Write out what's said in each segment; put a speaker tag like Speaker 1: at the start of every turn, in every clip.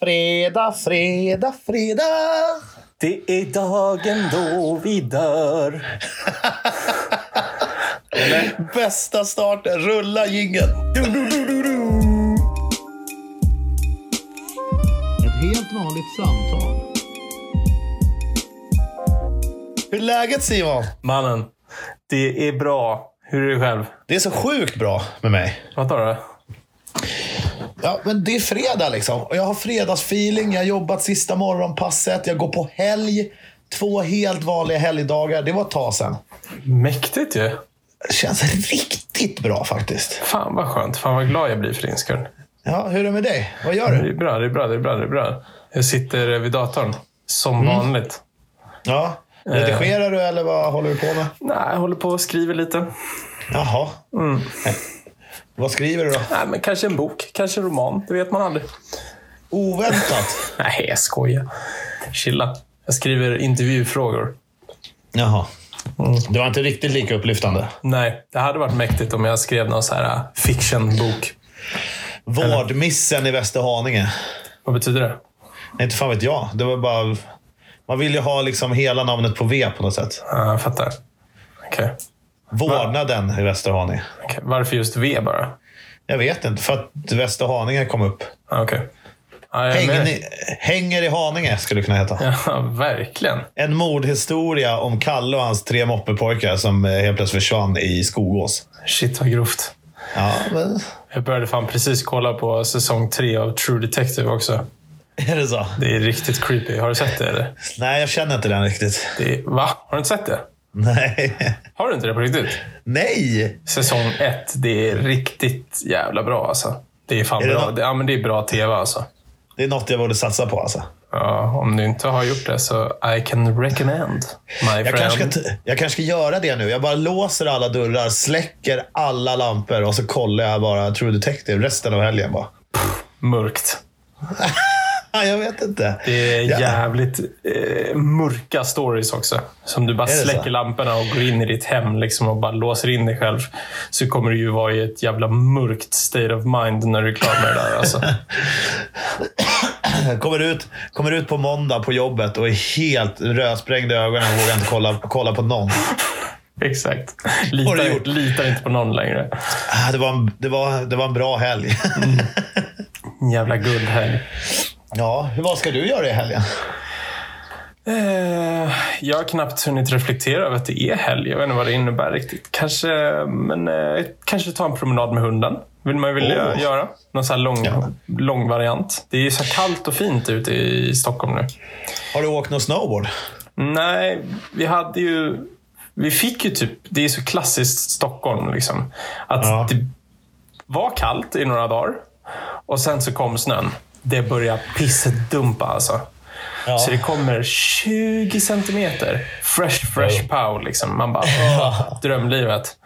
Speaker 1: Fredag, fredag, fredag.
Speaker 2: Det är dagen då vi dör.
Speaker 1: Bästa starten. Rulla jingeln.
Speaker 3: Ett helt vanligt samtal.
Speaker 1: Hur är läget Simon?
Speaker 2: Mannen, det är bra. Hur är det själv?
Speaker 1: Det är så sjukt bra med mig.
Speaker 2: Vad tar du?
Speaker 1: Ja, men det är fredag liksom. Och jag har fredagsfeeling. Jag har jobbat sista morgonpasset. Jag går på helg. Två helt vanliga helgdagar. Det var ett tag sedan.
Speaker 2: Mäktigt ju.
Speaker 1: Det känns riktigt bra faktiskt.
Speaker 2: Fan vad skönt. Fan vad glad jag blir för din skull.
Speaker 1: Ja, hur är det med dig? Vad gör du?
Speaker 2: Det är bra, det är bra, det är bra, det är bra. Jag sitter vid datorn. Som vanligt.
Speaker 1: Ja, redigerar du eller vad håller du på med?
Speaker 2: Nej, jag håller på och skriver lite.
Speaker 1: Jaha. Eh, Vad skriver du då?
Speaker 2: Nej, men kanske en bok, kanske en roman. Det vet man aldrig.
Speaker 1: Oväntat.
Speaker 2: Nej, jag skojar. Chilla. Jag skriver intervjufrågor.
Speaker 1: Jaha. Det var inte riktigt lika upplyftande.
Speaker 2: Nej, det hade varit mäktigt om jag skrev någon så här äh, fictionbok.
Speaker 1: Vårdmissen i Västerhaninge.
Speaker 2: Vad betyder det?
Speaker 1: Nej, inte fan vet jag. Det var bara... Man vill ju ha liksom hela namnet på V på något sätt.
Speaker 2: Ja, jag fattar. Okej.
Speaker 1: Vårdnaden i Västerhaninge.
Speaker 2: Okej. Varför just V bara?
Speaker 1: Jag vet inte, för att Västerhaninge kom upp.
Speaker 2: Ja, Ah, Okej. Ja, jag är
Speaker 1: Hänger,
Speaker 2: med.
Speaker 1: i- hänger i Haninge skulle det kunna heta.
Speaker 2: Ja, verkligen.
Speaker 1: En mordhistoria om Kalle och hans tre moppepojkar som eh, helt plötsligt försvann i Skogås.
Speaker 2: Shit vad grovt.
Speaker 1: Ja, men...
Speaker 2: Jag började fan precis kolla på säsong tre av True Detective också.
Speaker 1: Är det så?
Speaker 2: Det är riktigt creepy. Har du sett det eller?
Speaker 1: Nej, jag känner inte den riktigt.
Speaker 2: Det är, va? Har du inte sett det?
Speaker 1: Nej.
Speaker 2: Har du inte det på riktigt?
Speaker 1: Nej!
Speaker 2: Säsong ett, det är riktigt jävla bra alltså. Det är fan
Speaker 1: Är det
Speaker 2: bra.
Speaker 1: nå-
Speaker 2: Det, ja, men det är bra tv alltså.
Speaker 1: Det är något jag borde satsa på alltså.
Speaker 2: Ja, om du inte har gjort det så I can recommend my
Speaker 1: Jag
Speaker 2: friend.
Speaker 1: kanske, ska t- jag kanske ska göra det nu. Jag bara låser alla dörrar, släcker alla lampor och så kollar jag bara True Detective resten av helgen. Bara.
Speaker 2: Mörkt.
Speaker 1: Ah, Jag vet inte.
Speaker 2: Det är
Speaker 1: Ja.
Speaker 2: jävligt eh, mörka stories också. Som du bara
Speaker 1: det så?
Speaker 2: släcker lamporna och går in i ditt hem liksom, och bara låser in dig själv. Så kommer du ju vara i ett jävla mörkt state of mind när du är klar med det där. Alltså.
Speaker 1: Kommer ut, kommer ut på måndag på jobbet och är helt rödsprängd i ögonen och vågar inte kolla, kolla på någon.
Speaker 2: Exakt.
Speaker 1: Har du
Speaker 2: Litar,
Speaker 1: gjort?
Speaker 2: litar inte på någon längre.
Speaker 1: Ah, Det var en, det var, det var en bra helg.
Speaker 2: Jävla guldhelg.
Speaker 1: Ja, hur- vad ska du göra i helgen?
Speaker 2: Eh, jag har knappt hunnit reflektera över att det är helg. Jag vet inte vad det innebär riktigt. Kanske, men, eh, kanske ta en promenad med hunden. vill man ju vilja
Speaker 1: Åh.
Speaker 2: göra. Någon så här lång, lång variant. Det är ju så här kallt och fint ute i Stockholm nu.
Speaker 1: Har du åkt någon snowboard?
Speaker 2: Nej, vi hade ju... Vi fick ju typ... Det är så klassiskt Stockholm. Liksom, att
Speaker 1: Ja.
Speaker 2: det var kallt i några dagar och sen så kom snön. Det började pissedumpa alltså.
Speaker 1: Ja.
Speaker 2: Så det kommer 20 centimeter. Fresh, fresh pow. Liksom. Man bara, åh, drömlivet.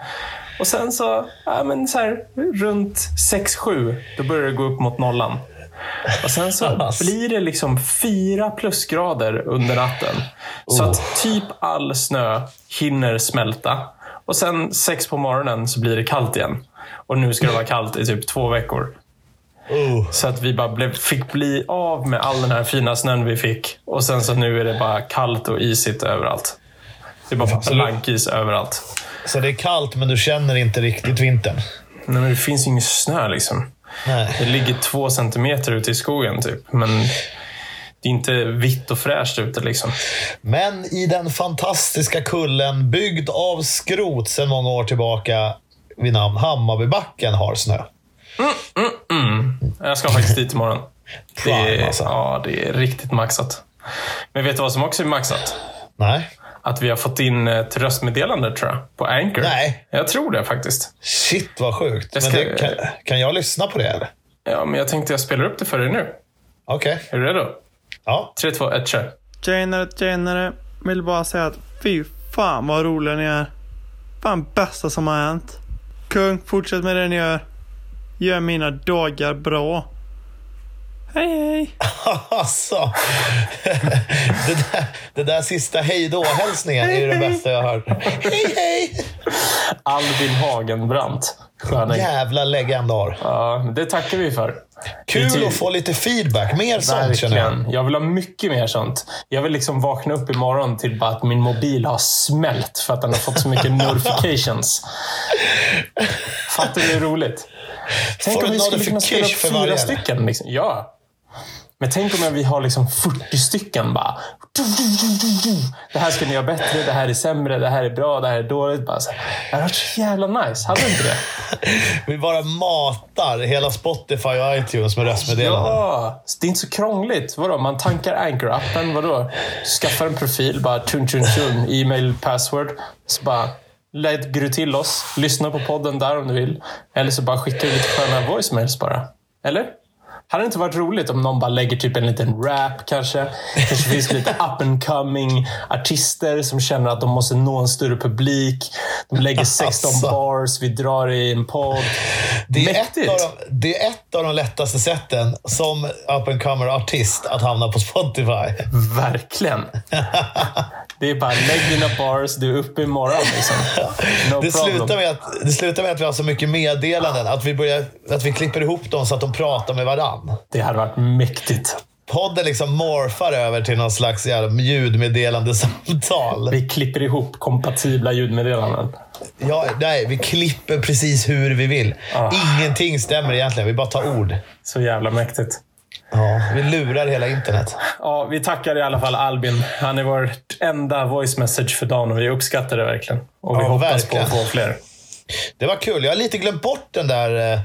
Speaker 2: Och sen så, ja, men så här, runt 6-7, då börjar det gå upp mot nollan. Och sen så blir det liksom fyra plusgrader under natten. Så att typ all snö hinner smälta. Och sen sex på morgonen så blir det kallt igen. Och nu ska det vara kallt i typ två veckor.
Speaker 1: Oh.
Speaker 2: Så att vi bara blev, fick bli av med all den här fina snön vi fick. Och sen så nu är det bara kallt och isigt överallt. Det är bara blankis överallt.
Speaker 1: Så det är kallt, men du känner inte riktigt vintern?
Speaker 2: Nej, men det finns ju ingen snö liksom.
Speaker 1: Nej.
Speaker 2: Det ligger två centimeter ute i skogen typ. Men det är inte vitt och fräscht ute liksom.
Speaker 1: Men i den fantastiska kullen, byggd av skrot sedan många år tillbaka, vid namn Hammarbybacken har snö.
Speaker 2: Jag ska faktiskt dit imorgon. Det
Speaker 1: Fan,
Speaker 2: är,
Speaker 1: alltså.
Speaker 2: ja, det är riktigt maxat. Men vet du vad som också är maxat?
Speaker 1: Nej.
Speaker 2: Att vi har fått in ett röstmeddelande tror jag, på Anchor.
Speaker 1: Nej.
Speaker 2: Jag tror det faktiskt.
Speaker 1: Shit vad sjukt.
Speaker 2: Jag
Speaker 1: Men
Speaker 2: ska-
Speaker 1: det, kan, kan jag lyssna på det eller?
Speaker 2: Ja, men jag tänkte jag spelar upp det för dig nu.
Speaker 1: Okej.
Speaker 2: Är du redo?
Speaker 1: Ja.
Speaker 2: 3, 2, 1, kör.
Speaker 4: Tjenare, tjenare. Vill bara säga att fy fan vad roliga ni är. Fan bästa som har hänt. Kung, fortsätt med det ni gör. Gör mina dagar bra. Hej hej.
Speaker 1: Alltså. det, där, det där sista hejdå-hälsningen är ju det bästa jag har hört. Hej, hej!
Speaker 2: Albin Hagenbrant. Sköning.
Speaker 1: Jävla legendar.
Speaker 2: Ja, det tackar vi för. typ-
Speaker 1: Kul att få lite feedback. Mer sånt känner jag.
Speaker 2: Verkligen. Jag vill ha mycket mer sånt. Jag vill liksom vakna upp imorgon till bara att min mobil har smält för att den har fått så mycket notifications. Fattar du hur roligt? Tänk
Speaker 1: Får
Speaker 2: om
Speaker 1: du
Speaker 2: vi skulle kunna spela upp
Speaker 1: notification för varje,
Speaker 2: fyra
Speaker 1: eller?
Speaker 2: stycken. Liksom. Ja. Men tänk om vi har liksom 40 stycken bara. Det här ska ni göra bättre, det här är sämre, det här är bra, det här är dåligt. Bara så här. Det hade varit så jävla nice. Hade inte det?
Speaker 1: Vi bara matar hela Spotify och iTunes med röstmeddelanden.
Speaker 2: Ja, det är inte så krångligt. Vadå, man tankar Anchor-appen, vadå? Skaffar en profil, bara tun tun tun, e-mail, password. Så bara lägger du till oss, lyssna på podden där om du vill. Eller så bara skickar du lite sköna voicemails bara. Eller? Hade det inte varit roligt om någon bara lägger typ en liten rap kanske? Kanske finns lite up and coming artister som känner att de måste nå en större publik. De lägger 16
Speaker 1: Alltså.
Speaker 2: bars, vi drar i en podd.
Speaker 1: Det är, ett
Speaker 2: Mäktigt.
Speaker 1: av de, det är ett av de lättaste sätten som up and comer artist att hamna på Spotify.
Speaker 2: Mm. Verkligen. Det är bara lägg dina bars, du är uppe imorgon. Liksom. No
Speaker 1: Det
Speaker 2: problem.
Speaker 1: slutar, med att, det slutar med att vi har så mycket meddelanden att vi, börjar, att vi klipper ihop dem så att de pratar med varann.
Speaker 2: Det hade varit mäktigt.
Speaker 1: Podden liksom morfar över till någon slags jävla ljudmeddelande samtal.
Speaker 2: Vi klipper ihop kompatibla ljudmeddelanden.
Speaker 1: Ja, nej, vi klipper precis hur vi vill.
Speaker 2: Ah.
Speaker 1: Ingenting stämmer egentligen. Vi bara tar ord.
Speaker 2: Så jävla mäktigt.
Speaker 1: Ja, vi lurar hela internet.
Speaker 2: Ja, vi tackar i alla fall Albin. Han är vårt enda voice message för dagen och vi uppskattar det verkligen. Och vi
Speaker 1: Ja,
Speaker 2: hoppas
Speaker 1: verkligen.
Speaker 2: på att få fler.
Speaker 1: Det var kul. Jag har lite glömt bort den där eh,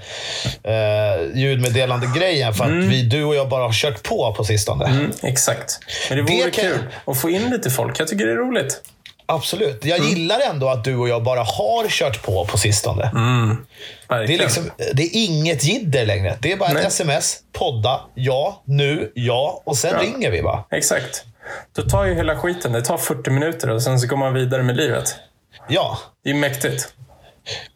Speaker 1: eh, ljudmeddelande-grejen för att vi, du och jag bara har kört på på sistone.
Speaker 2: Mm, exakt. Men det vore
Speaker 1: Det kan-
Speaker 2: kul att få in lite folk. Jag tycker det är roligt.
Speaker 1: Absolut. Jag
Speaker 2: Mm.
Speaker 1: gillar ändå att du och jag bara har kört på på sistone.
Speaker 2: Mm,
Speaker 1: Det, är
Speaker 2: Verkligen.
Speaker 1: liksom, det är inget jidder längre. Det är bara ett
Speaker 2: Nej.
Speaker 1: sms, podda, ja, nu, ja och sen ringer vi bara.
Speaker 2: Exakt. Då tar ju hela skiten, det tar 40 minuter och sen så går man vidare med livet.
Speaker 1: Ja.
Speaker 2: Det är mäktigt.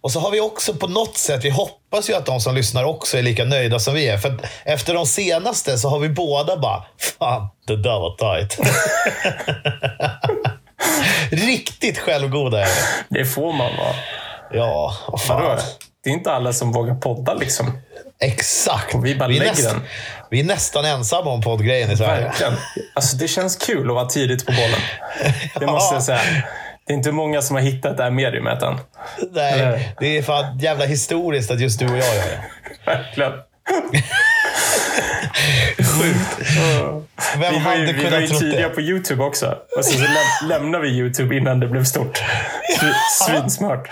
Speaker 1: Och så har vi också på något sätt, vi hoppas ju att de som lyssnar också är lika nöjda som vi är. För att efter de senaste så har vi båda bara, fan det där var tajt. Riktigt självgoda är vi.
Speaker 2: Det får man vara.
Speaker 1: Ja, vad fan.
Speaker 2: Vadå? Det är inte alla som vågar podda liksom.
Speaker 1: Exakt.
Speaker 2: vi bara
Speaker 1: är
Speaker 2: lägger
Speaker 1: nästan-
Speaker 2: den.
Speaker 1: vi är nästan ensamma om poddgrejen i Sverige.
Speaker 2: Verkligen. Alltså, det känns kul att vara tidigt på bollen. Det måste jag säga. Det är inte många som har hittat det här mediumet än.
Speaker 1: Nej,
Speaker 2: Nej.
Speaker 1: det är fan jävla historiskt att just du och jag gör det.
Speaker 2: Verkligen.
Speaker 1: Vem
Speaker 2: Vi var ju,
Speaker 1: hade
Speaker 2: vi var ju
Speaker 1: kunnat tro
Speaker 2: tidiga
Speaker 1: det?
Speaker 2: på YouTube också. Och sen så läm- lämnade vi YouTube innan det blev stort. Svi- Svinsmart.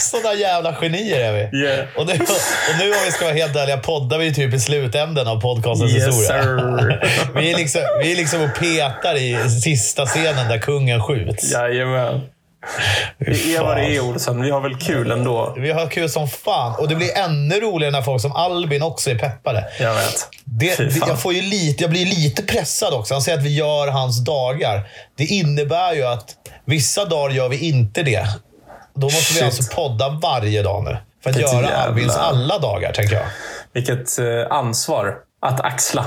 Speaker 1: Sådana jävla genier är vi.
Speaker 2: Yeah.
Speaker 1: Och, nu, och nu om vi ska vara helt ärliga poddar vi ju typ i slutänden av podcastens
Speaker 2: Yes
Speaker 1: historia.
Speaker 2: sir.
Speaker 1: Vi är, liksom, vi är liksom och petar i sista scenen där kungen skjuts.
Speaker 2: Jajamän. Det är vad det är
Speaker 1: Fan.
Speaker 2: Olsson. Vi har väl kul ändå.
Speaker 1: Vi har kul som fan och det blir ännu roligare när folk som Albin också är peppade.
Speaker 2: Jag vet.
Speaker 1: Det,
Speaker 2: Fy
Speaker 1: det,
Speaker 2: fan.
Speaker 1: jag, får ju lite, jag blir lite pressad också. Han säger att vi gör hans dagar. Det innebär ju att vissa dagar gör vi inte det. Då måste vi
Speaker 2: Shit.
Speaker 1: alltså podda varje dag nu. För att
Speaker 2: Vilket
Speaker 1: göra
Speaker 2: jävla-
Speaker 1: Albins alla dagar, tänker jag.
Speaker 2: Vilket eh, ansvar att axla.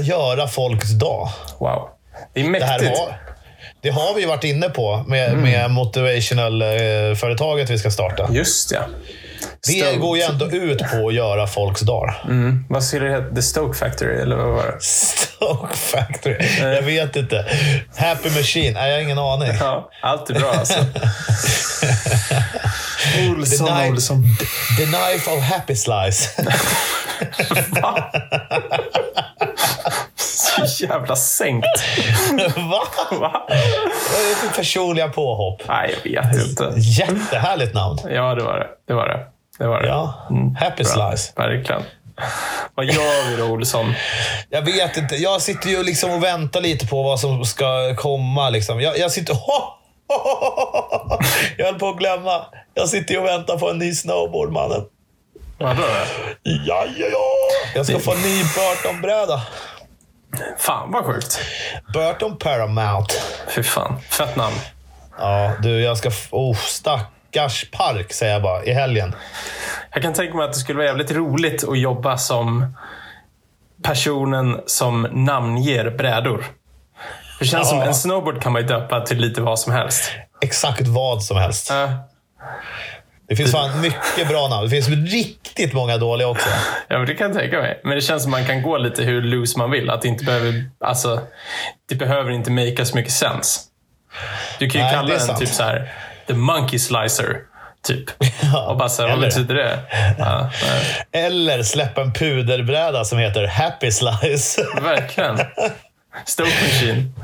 Speaker 1: Göra folks dag.
Speaker 2: Wow. Det är
Speaker 1: Det här
Speaker 2: mäktigt.
Speaker 1: har, det har vi ju varit inne på med, med motivational-företaget vi ska starta.
Speaker 2: Mm. Just ja.
Speaker 1: Det
Speaker 2: Stoked.
Speaker 1: går ju ändå ut på att göra folks dagar.
Speaker 2: Mm. Vad skulle det heta? The Stoke Factory, eller vad var det?
Speaker 1: Stoke Factory. Jag vet inte. Happy Machine. Nej, jag har ingen aning.
Speaker 2: Ja, allt är bra alltså. Olsson,
Speaker 1: The night-
Speaker 2: Olsson.
Speaker 1: The Knife of Happy Slice.
Speaker 2: Va? Så jävla sänkt.
Speaker 1: Va?
Speaker 2: Va?
Speaker 1: Vad är det för personliga påhopp?
Speaker 2: Nej, jag vet inte.
Speaker 1: Jättehärligt namn.
Speaker 2: Ja, det var det. Det var det. det, var det.
Speaker 1: Ja.
Speaker 2: Mm.
Speaker 1: Happy Slice.
Speaker 2: Verkligen. Vad gör vi då, Olsson?
Speaker 1: Jag vet inte. Jag sitter ju liksom och väntar lite på vad som ska komma. Liksom. Jag, jag sitter... Jag höll på att glömma. Jag sitter ju och väntar på en ny snowboard, mannen.
Speaker 2: Vadå?
Speaker 1: Ja, ja, ja. Jag ska få en ny Burton-bräda.
Speaker 2: Fan, vad sjukt.
Speaker 1: Burton Paramount.
Speaker 2: Fy fan. Fett namn.
Speaker 1: Ja, du, jag ska... f- Oh, stackars park, säger jag bara, i helgen.
Speaker 2: Jag kan tänka mig att det skulle vara jävligt roligt att jobba som personen som namnger brädor. Det känns som en snowboard kan man ju döpa till lite vad som helst.
Speaker 1: Exakt vad som helst.
Speaker 2: Äh,
Speaker 1: Det finns fan mycket bra namn. Det finns riktigt många dåliga också.
Speaker 2: Ja, men det kan jag tänka mig. Men det känns som man kan gå lite hur loose man vill. Att det inte behöver, alltså, det behöver inte makea så mycket sens. Du kan ju
Speaker 1: Nej, det
Speaker 2: kalla
Speaker 1: är
Speaker 2: den
Speaker 1: sant.
Speaker 2: typ så här the monkey slicer. Typ. och bara så här, vad
Speaker 1: eller-
Speaker 2: betyder det? Ja, nej,
Speaker 1: Eller släpp en puderbräda som heter Happy Slice.
Speaker 2: verkligen. Stoke Machine.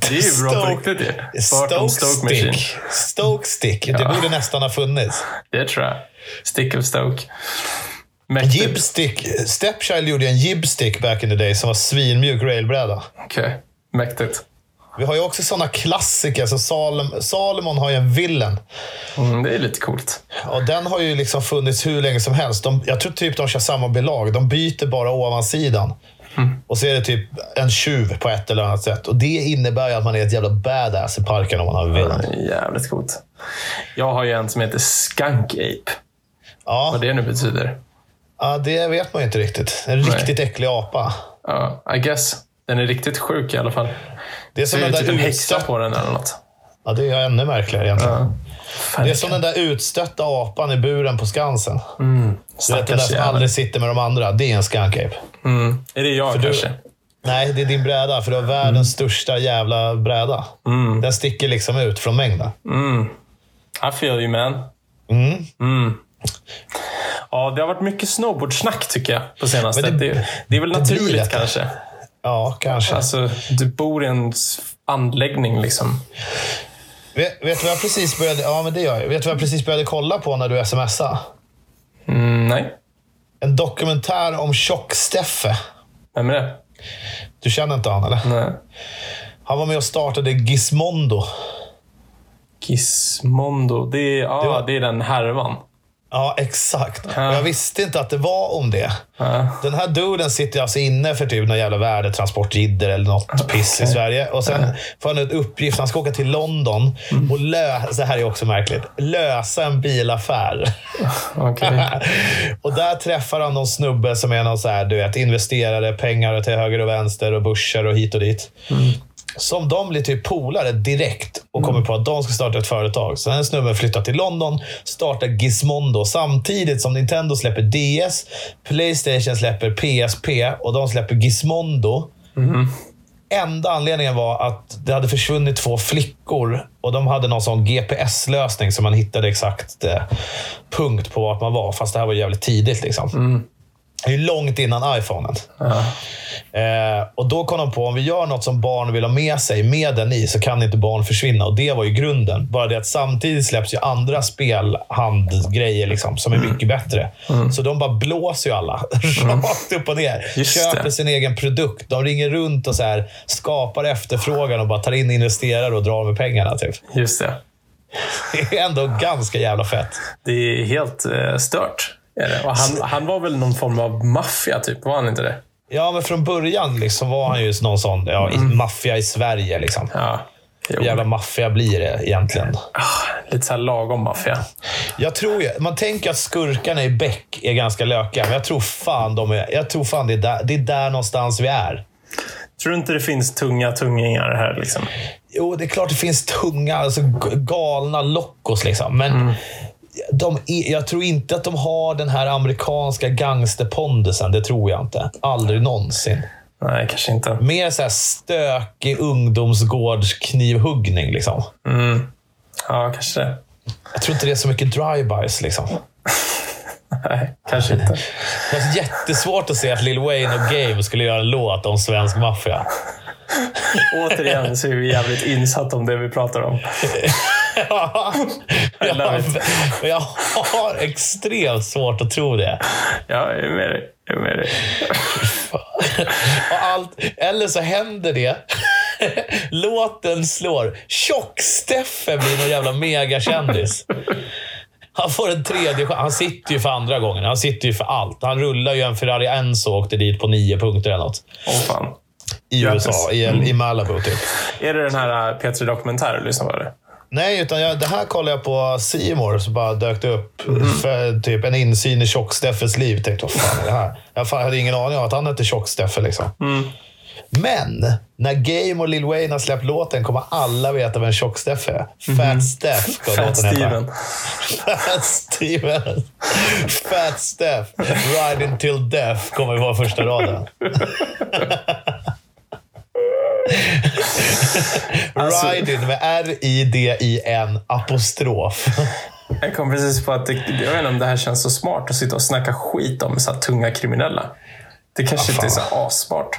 Speaker 2: Det är ju bra på
Speaker 1: Stoke-
Speaker 2: riktigt ju. Stoke,
Speaker 1: Stoke
Speaker 2: Stoke Machine.
Speaker 1: Stick. Stoke Stick. Det borde nästan ha funnits.
Speaker 2: Det tror jag. Stick of Stoke.
Speaker 1: Jib Stick. Stepchild gjorde ju en Jib Stick back in the day som var svinmjuk railbräda.
Speaker 2: Okej, mäktigt.
Speaker 1: Vi har ju också sådana klassiker som Salem, Salomon har ju en Villen.
Speaker 2: Mm, det är lite coolt.
Speaker 1: Och den har ju liksom funnits hur länge som helst. De, jag tror typ de kör samma belag. De byter bara ovansidan. Och så är det typ en tjuv på ett eller annat sätt. Och det innebär ju att man är ett jävla badass i parken om man har en Villen.
Speaker 2: Det är Jävligt coolt. Jag har ju en som heter Skunk Ape.
Speaker 1: Ja,
Speaker 2: Vad det nu betyder.
Speaker 1: ja, det vet man ju inte riktigt. En riktigt äcklig apa.
Speaker 2: Ja, I guess. Den är riktigt sjuk i alla fall.
Speaker 1: Det är som
Speaker 2: Det är
Speaker 1: den
Speaker 2: ju
Speaker 1: där
Speaker 2: typ en häxa
Speaker 1: utstötta-
Speaker 2: på den eller något.
Speaker 1: Ja, det är ännu märkligare egentligen.
Speaker 2: Fan,
Speaker 1: Det är som den där utstötta apan i buren på Skansen. Du vet, den där
Speaker 2: Mm. stackars
Speaker 1: som
Speaker 2: jävel.
Speaker 1: aldrig sitter med de andra. Det är en skankape.
Speaker 2: Är det jag
Speaker 1: du-
Speaker 2: kanske?
Speaker 1: Nej, det är din bräda, för du har
Speaker 2: Mm.
Speaker 1: världens största jävla bräda. Den sticker liksom ut från mängden.
Speaker 2: I feel you man. Mm. Ja, det har varit mycket snowboardsnack tycker jag på senaste.
Speaker 1: Men
Speaker 2: det,
Speaker 1: det-
Speaker 2: det, är väl
Speaker 1: blir
Speaker 2: naturligt
Speaker 1: detta.
Speaker 2: kanske.
Speaker 1: Ja, kanske.
Speaker 2: Alltså, du bor i en s- anläggning liksom.
Speaker 1: Vet, vet du vad jag precis började... Ja, men det gör jag. Vet du vad jag precis började kolla på när du smsade?
Speaker 2: Mm, nej,
Speaker 1: En dokumentär om Tjock-Steffe.
Speaker 2: vem är det?
Speaker 1: Du känner inte han, eller?
Speaker 2: Nej.
Speaker 1: Han var med och startade Gizmondo.
Speaker 2: Gizmondo. Det är, ja,
Speaker 1: Det var-
Speaker 2: det är den härvan.
Speaker 1: Ja, exakt. Och
Speaker 2: Ja.
Speaker 1: Jag visste inte att det var om det.
Speaker 2: Ja.
Speaker 1: Den här duden sitter alltså inne för typ någon jävla värdetransportjidder eller något piss i Sverige. Och sen får han ut uppgift. Han ska åka till London och lösa, det här är också märkligt, lösa en bilaffär.
Speaker 2: Okej.
Speaker 1: och där träffar han någon snubbe som är någon så här, du vet, investerare, pengar till höger och vänster och börser och hit och dit. Som de blir typ polare direkt och kommer på att de ska starta ett företag. Så den här snubben flyttar till London, startar Gizmondo samtidigt som Nintendo släpper DS, Playstation släpper PSP och de släpper Gizmondo. Enda anledningen var att det hade försvunnit två flickor och de hade någon sån GPS-lösning som man hittade exakt eh, punkt på vart man var. Fast det här var jävligt tidigt. liksom. Det är ju långt innan iPhonen. Eh, och då kom de på om vi gör något som barn vill ha med sig med den i så kan inte barn försvinna. Och det var ju grunden. Bara det att samtidigt släpps ju andra spelhandgrejer liksom, som är
Speaker 2: Mm.
Speaker 1: mycket bättre. Så de bara blåser ju alla rakt upp och ner.
Speaker 2: Just
Speaker 1: Köper
Speaker 2: det.
Speaker 1: sin egen produkt. De ringer runt och så här, skapar efterfrågan och bara tar in investerare och drar med pengarna. Typ.
Speaker 2: Just det.
Speaker 1: Det är ändå ganska jävla fett.
Speaker 2: Det är helt eh, stört. Är det. Och han, han var väl någon form av maffia, typ? Var han inte det?
Speaker 1: Ja, men från början liksom var han ju någon sån ja, i- maffia i Sverige. Liksom.
Speaker 2: Mm. Ja. Jo. Ah,
Speaker 1: Hur jävla maffia blir det egentligen?
Speaker 2: Lite så här lagom maffia.
Speaker 1: Jag tror ju, man tänker att skurkarna i Beck är ganska lökiga, men jag tror fan, de är, jag tror fan det, är där, det är där någonstans vi är.
Speaker 2: Tror du inte det finns tunga tungingar här? Liksom?
Speaker 1: Jo, det är klart det finns tunga, alltså g- galna lockos liksom, men de är, jag tror inte att de har den här amerikanska gangsterpondusen. Det tror jag inte. Aldrig någonsin.
Speaker 2: Nej, kanske inte.
Speaker 1: Mer så här stökig ungdomsgårdsknivhuggning. Liksom.
Speaker 2: Ja, kanske det.
Speaker 1: Jag tror inte det är så mycket drive-bys. Liksom.
Speaker 2: Nej, kanske inte.
Speaker 1: Det är jättesvårt att se att Lil Wayne och Game skulle göra en låt om svensk maffia.
Speaker 2: Återigen så är vi jävligt insatta om det vi pratar om.
Speaker 1: Ja,
Speaker 2: I love
Speaker 1: jag,
Speaker 2: it.
Speaker 1: men jag har extremt svårt att tro det.
Speaker 2: Ja, jag är med dig. Jag är med dig.
Speaker 1: Och allt, eller så händer det. Låten slår. Tjock-Steffe blir någon jävla megakändis. Han får en tredje chans. Han sitter ju för andra gången. Han sitter ju för allt. Han rullar ju en Ferrari Enzo och åkte dit på nio punkter eller något.
Speaker 2: Åh fan.
Speaker 1: I
Speaker 2: Grattis.
Speaker 1: USA, i,
Speaker 2: Mm.
Speaker 1: i Malibu typ.
Speaker 2: Är det den här äh, P3 Dokumentär du lyssnar på? eller?
Speaker 1: Nej, utan jag, det här kollade jag på C More så bara dök det upp för, typ en insyn i Tjock-Steffes liv. Tänkte, vad fan är det här? Jag fan hade ingen aning om att han hette Tjock-Steffe. Liksom. Men när Game och Lil Wayne har släppt låten kommer alla veta vem Tjock-Steff är. Fat Steff ska
Speaker 2: Mhm. Fat
Speaker 1: låten heta.
Speaker 2: Steven.
Speaker 1: Fat Steven. Fat Steff. Ride until death kommer vara första raden.
Speaker 2: Alltså-
Speaker 1: Riding med R-I-D-I-N apostrof.
Speaker 2: Jag kom precis på att det, jag vet inte om det här känns så smart att sitta och snacka skit om så här tunga kriminella. Det kanske inte är så här assmart.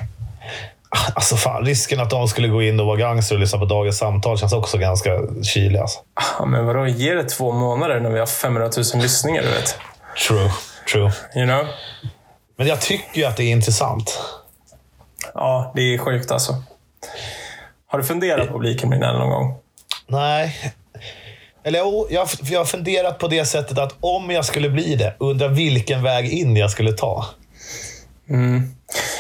Speaker 1: Alltså fan, risken att de skulle gå in och vara gangster och lyssna på dagens samtal känns också ganska kylig. Alltså.
Speaker 2: Ja, Ah, men vadå, ge det två månader när vi har 500 000 lyssningar, du vet.
Speaker 1: True, true.
Speaker 2: You know?
Speaker 1: Men jag tycker ju att det är intressant.
Speaker 2: Ja, det är sjukt alltså. Har du funderat på att bli kriminell någon gång?
Speaker 1: Nej. Eller jo, jag, för jag har funderat på det sättet att om jag skulle bli det, undra vilken väg in jag skulle ta. Jag,
Speaker 2: Mm.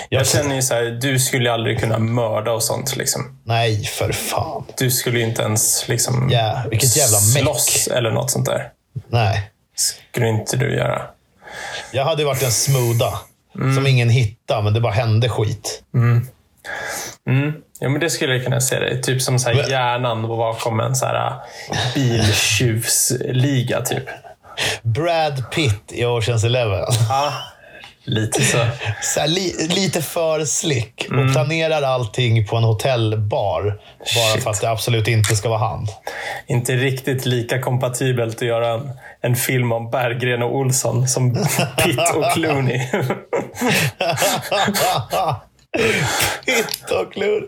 Speaker 2: Jag känner ju så här, du skulle ju aldrig kunna mörda och sånt. Liksom.
Speaker 1: Nej, för fan.
Speaker 2: Du skulle ju inte ens liksom,
Speaker 1: Ja, vilket jävla meck.
Speaker 2: slåss eller något sånt där.
Speaker 1: Nej.
Speaker 2: skulle inte du göra.
Speaker 1: Jag hade ju varit en smooda.
Speaker 2: Mm.
Speaker 1: Som ingen hittade, men det bara hände skit.
Speaker 2: Mm. Ja, men det skulle jag kunna säga dig. Typ som så här
Speaker 1: Men-
Speaker 2: hjärnan var bakom en så här ah, biltjuvsliga. Typ.
Speaker 1: Brad Pitt i Oceans Eleven.
Speaker 2: Ja, lite så.
Speaker 1: Så här, li, lite för slick och
Speaker 2: Mm.
Speaker 1: planerar allting på en hotellbar. Bara
Speaker 2: Shit.
Speaker 1: för att det absolut inte ska vara han.
Speaker 2: Inte riktigt lika kompatibelt att göra en, en film om Berggren och Olsson som Pitt och Clooney.
Speaker 1: Pitt och Clooney.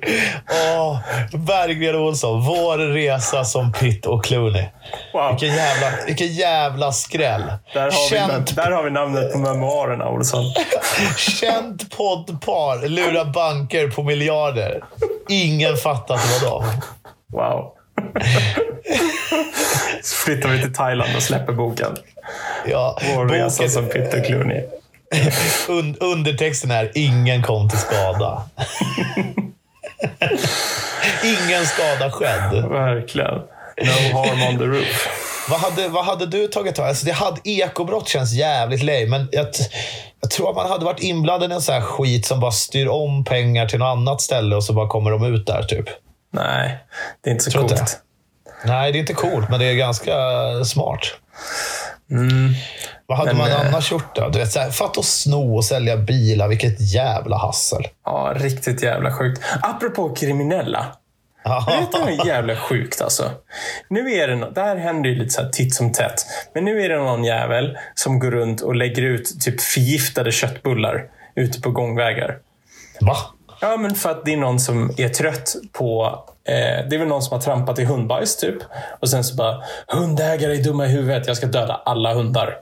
Speaker 1: Åh, Berggren och Olsson. Vår resa som Pitt och Clooney.
Speaker 2: Wow.
Speaker 1: Vilken jävla, vilken jävla skräll.
Speaker 2: Där har, vi,
Speaker 1: Känt,
Speaker 2: där har vi namnet på memoarerna, Olsson.
Speaker 1: känt poddpar lurar banker på miljarder. Ingen fattar att det var dem.
Speaker 2: Wow. Så flyttar vi till Thailand och släpper boken.
Speaker 1: Ja,
Speaker 2: Vår resa
Speaker 1: boken-
Speaker 2: som Pitt och Clooney.
Speaker 1: Un undertexten är ingen kom till skada. ingen skada skedde.
Speaker 2: Verkligen. No harm on the roof.
Speaker 1: Vad hade, vad hade du tagit tag alltså, det hade Ekobrott känns jävligt lame, men jag, t- jag tror att man hade varit inblandad i en sån här skit som bara styr om pengar till något annat ställe och så bara kommer de ut där. typ.
Speaker 2: Nej, det är inte så
Speaker 1: Tror inte.
Speaker 2: coolt.
Speaker 1: Nej, det är inte coolt, men det är ganska smart. Vad hade
Speaker 2: Mm. Men,
Speaker 1: man
Speaker 2: eh,
Speaker 1: annars gjort då? Du vet, så här, fatta att sno och sälja bilar, vilket jävla hassel.
Speaker 2: Ja, riktigt jävla sjukt. Apropå kriminella. Jag vet, Det är jävla sjukt alltså. Nu är det, nå- det här händer ju lite så här titt som tätt. Men nu är det någon jävel som går runt och lägger ut typ förgiftade köttbullar ute på gångvägar.
Speaker 1: Va?
Speaker 2: Ja, men för att det är någon som är trött på... Eh, det är väl någon som har trampat i hundbajs typ. Och sen så bara, hundägare är dumma i huvudet, jag ska döda alla hundar.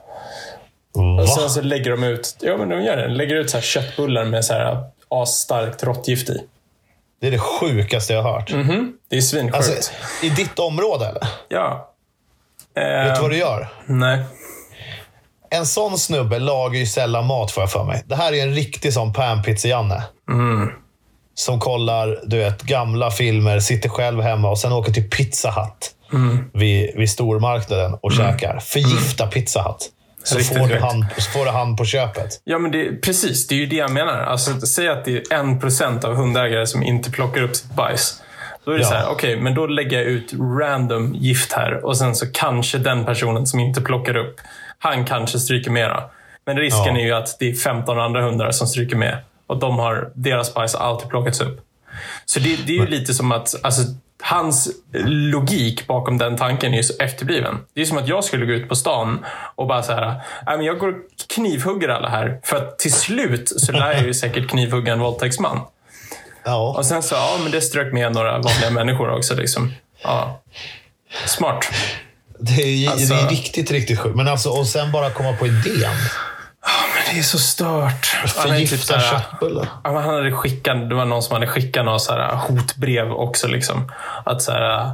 Speaker 1: Va?
Speaker 2: Och sen så lägger de ut, ja men de gör det, lägger ut så här köttbullar med så här asstarkt råttgift i.
Speaker 1: Det är det sjukaste jag har hört.
Speaker 2: Mm. Det är svinsjukt.
Speaker 1: Alltså, I ditt område eller?
Speaker 2: ja.
Speaker 1: Vet du
Speaker 2: Eh,
Speaker 1: vad du gör?
Speaker 2: nej.
Speaker 1: En sån snubbe lagar ju sällan mat får jag för mig. Det här är en riktig sån panpizza-Janne.
Speaker 2: Mm.
Speaker 1: Som kollar du vet, gamla filmer, sitter själv hemma och sen åker till Pizza Hut
Speaker 2: Mm.
Speaker 1: vid, vid stormarknaden och käkar. Förgifta Pizza Hut. Så
Speaker 2: Riktigt
Speaker 1: får, du
Speaker 2: sjukt.
Speaker 1: hand, så får du hand på köpet.
Speaker 2: Ja, men det, precis. Det är ju det jag menar. Alltså, säg att det är en procent av hundägare som inte plockar upp sitt bajs. Då är det
Speaker 1: Ja.
Speaker 2: så här, okej, men då lägger jag ut random gift här och sen så kanske den personen som inte plockar upp, han kanske stryker mera. Men risken
Speaker 1: Ja.
Speaker 2: är ju att det är 15 andra hundar som stryker med och de har, deras bajs har alltid plockats upp. Så det, det är ju lite som att alltså, hans logik bakom den tanken är ju så efterbliven. Det är som att jag skulle gå ut på stan och bara så här, "Nej, men jag går och knivhugger alla här. För att till slut så lär jag ju säkert knivhugga en våldtäktsman.
Speaker 1: Ja. Alltså,
Speaker 2: Och sen så, ja men det strök med några vanliga människor också. Liksom. Ja. Smart.
Speaker 1: Det är, ju-
Speaker 2: Alltså-
Speaker 1: det är riktigt, riktigt sjukt. Men alltså, och sen bara komma på idén.
Speaker 2: Men det är så stört. Han är ju typ så
Speaker 1: Förgifta
Speaker 2: här-
Speaker 1: köttbullar.
Speaker 2: Ja, men han hade skickat, det var någon som hade skickat något så här hotbrev också. Liksom. Att så här,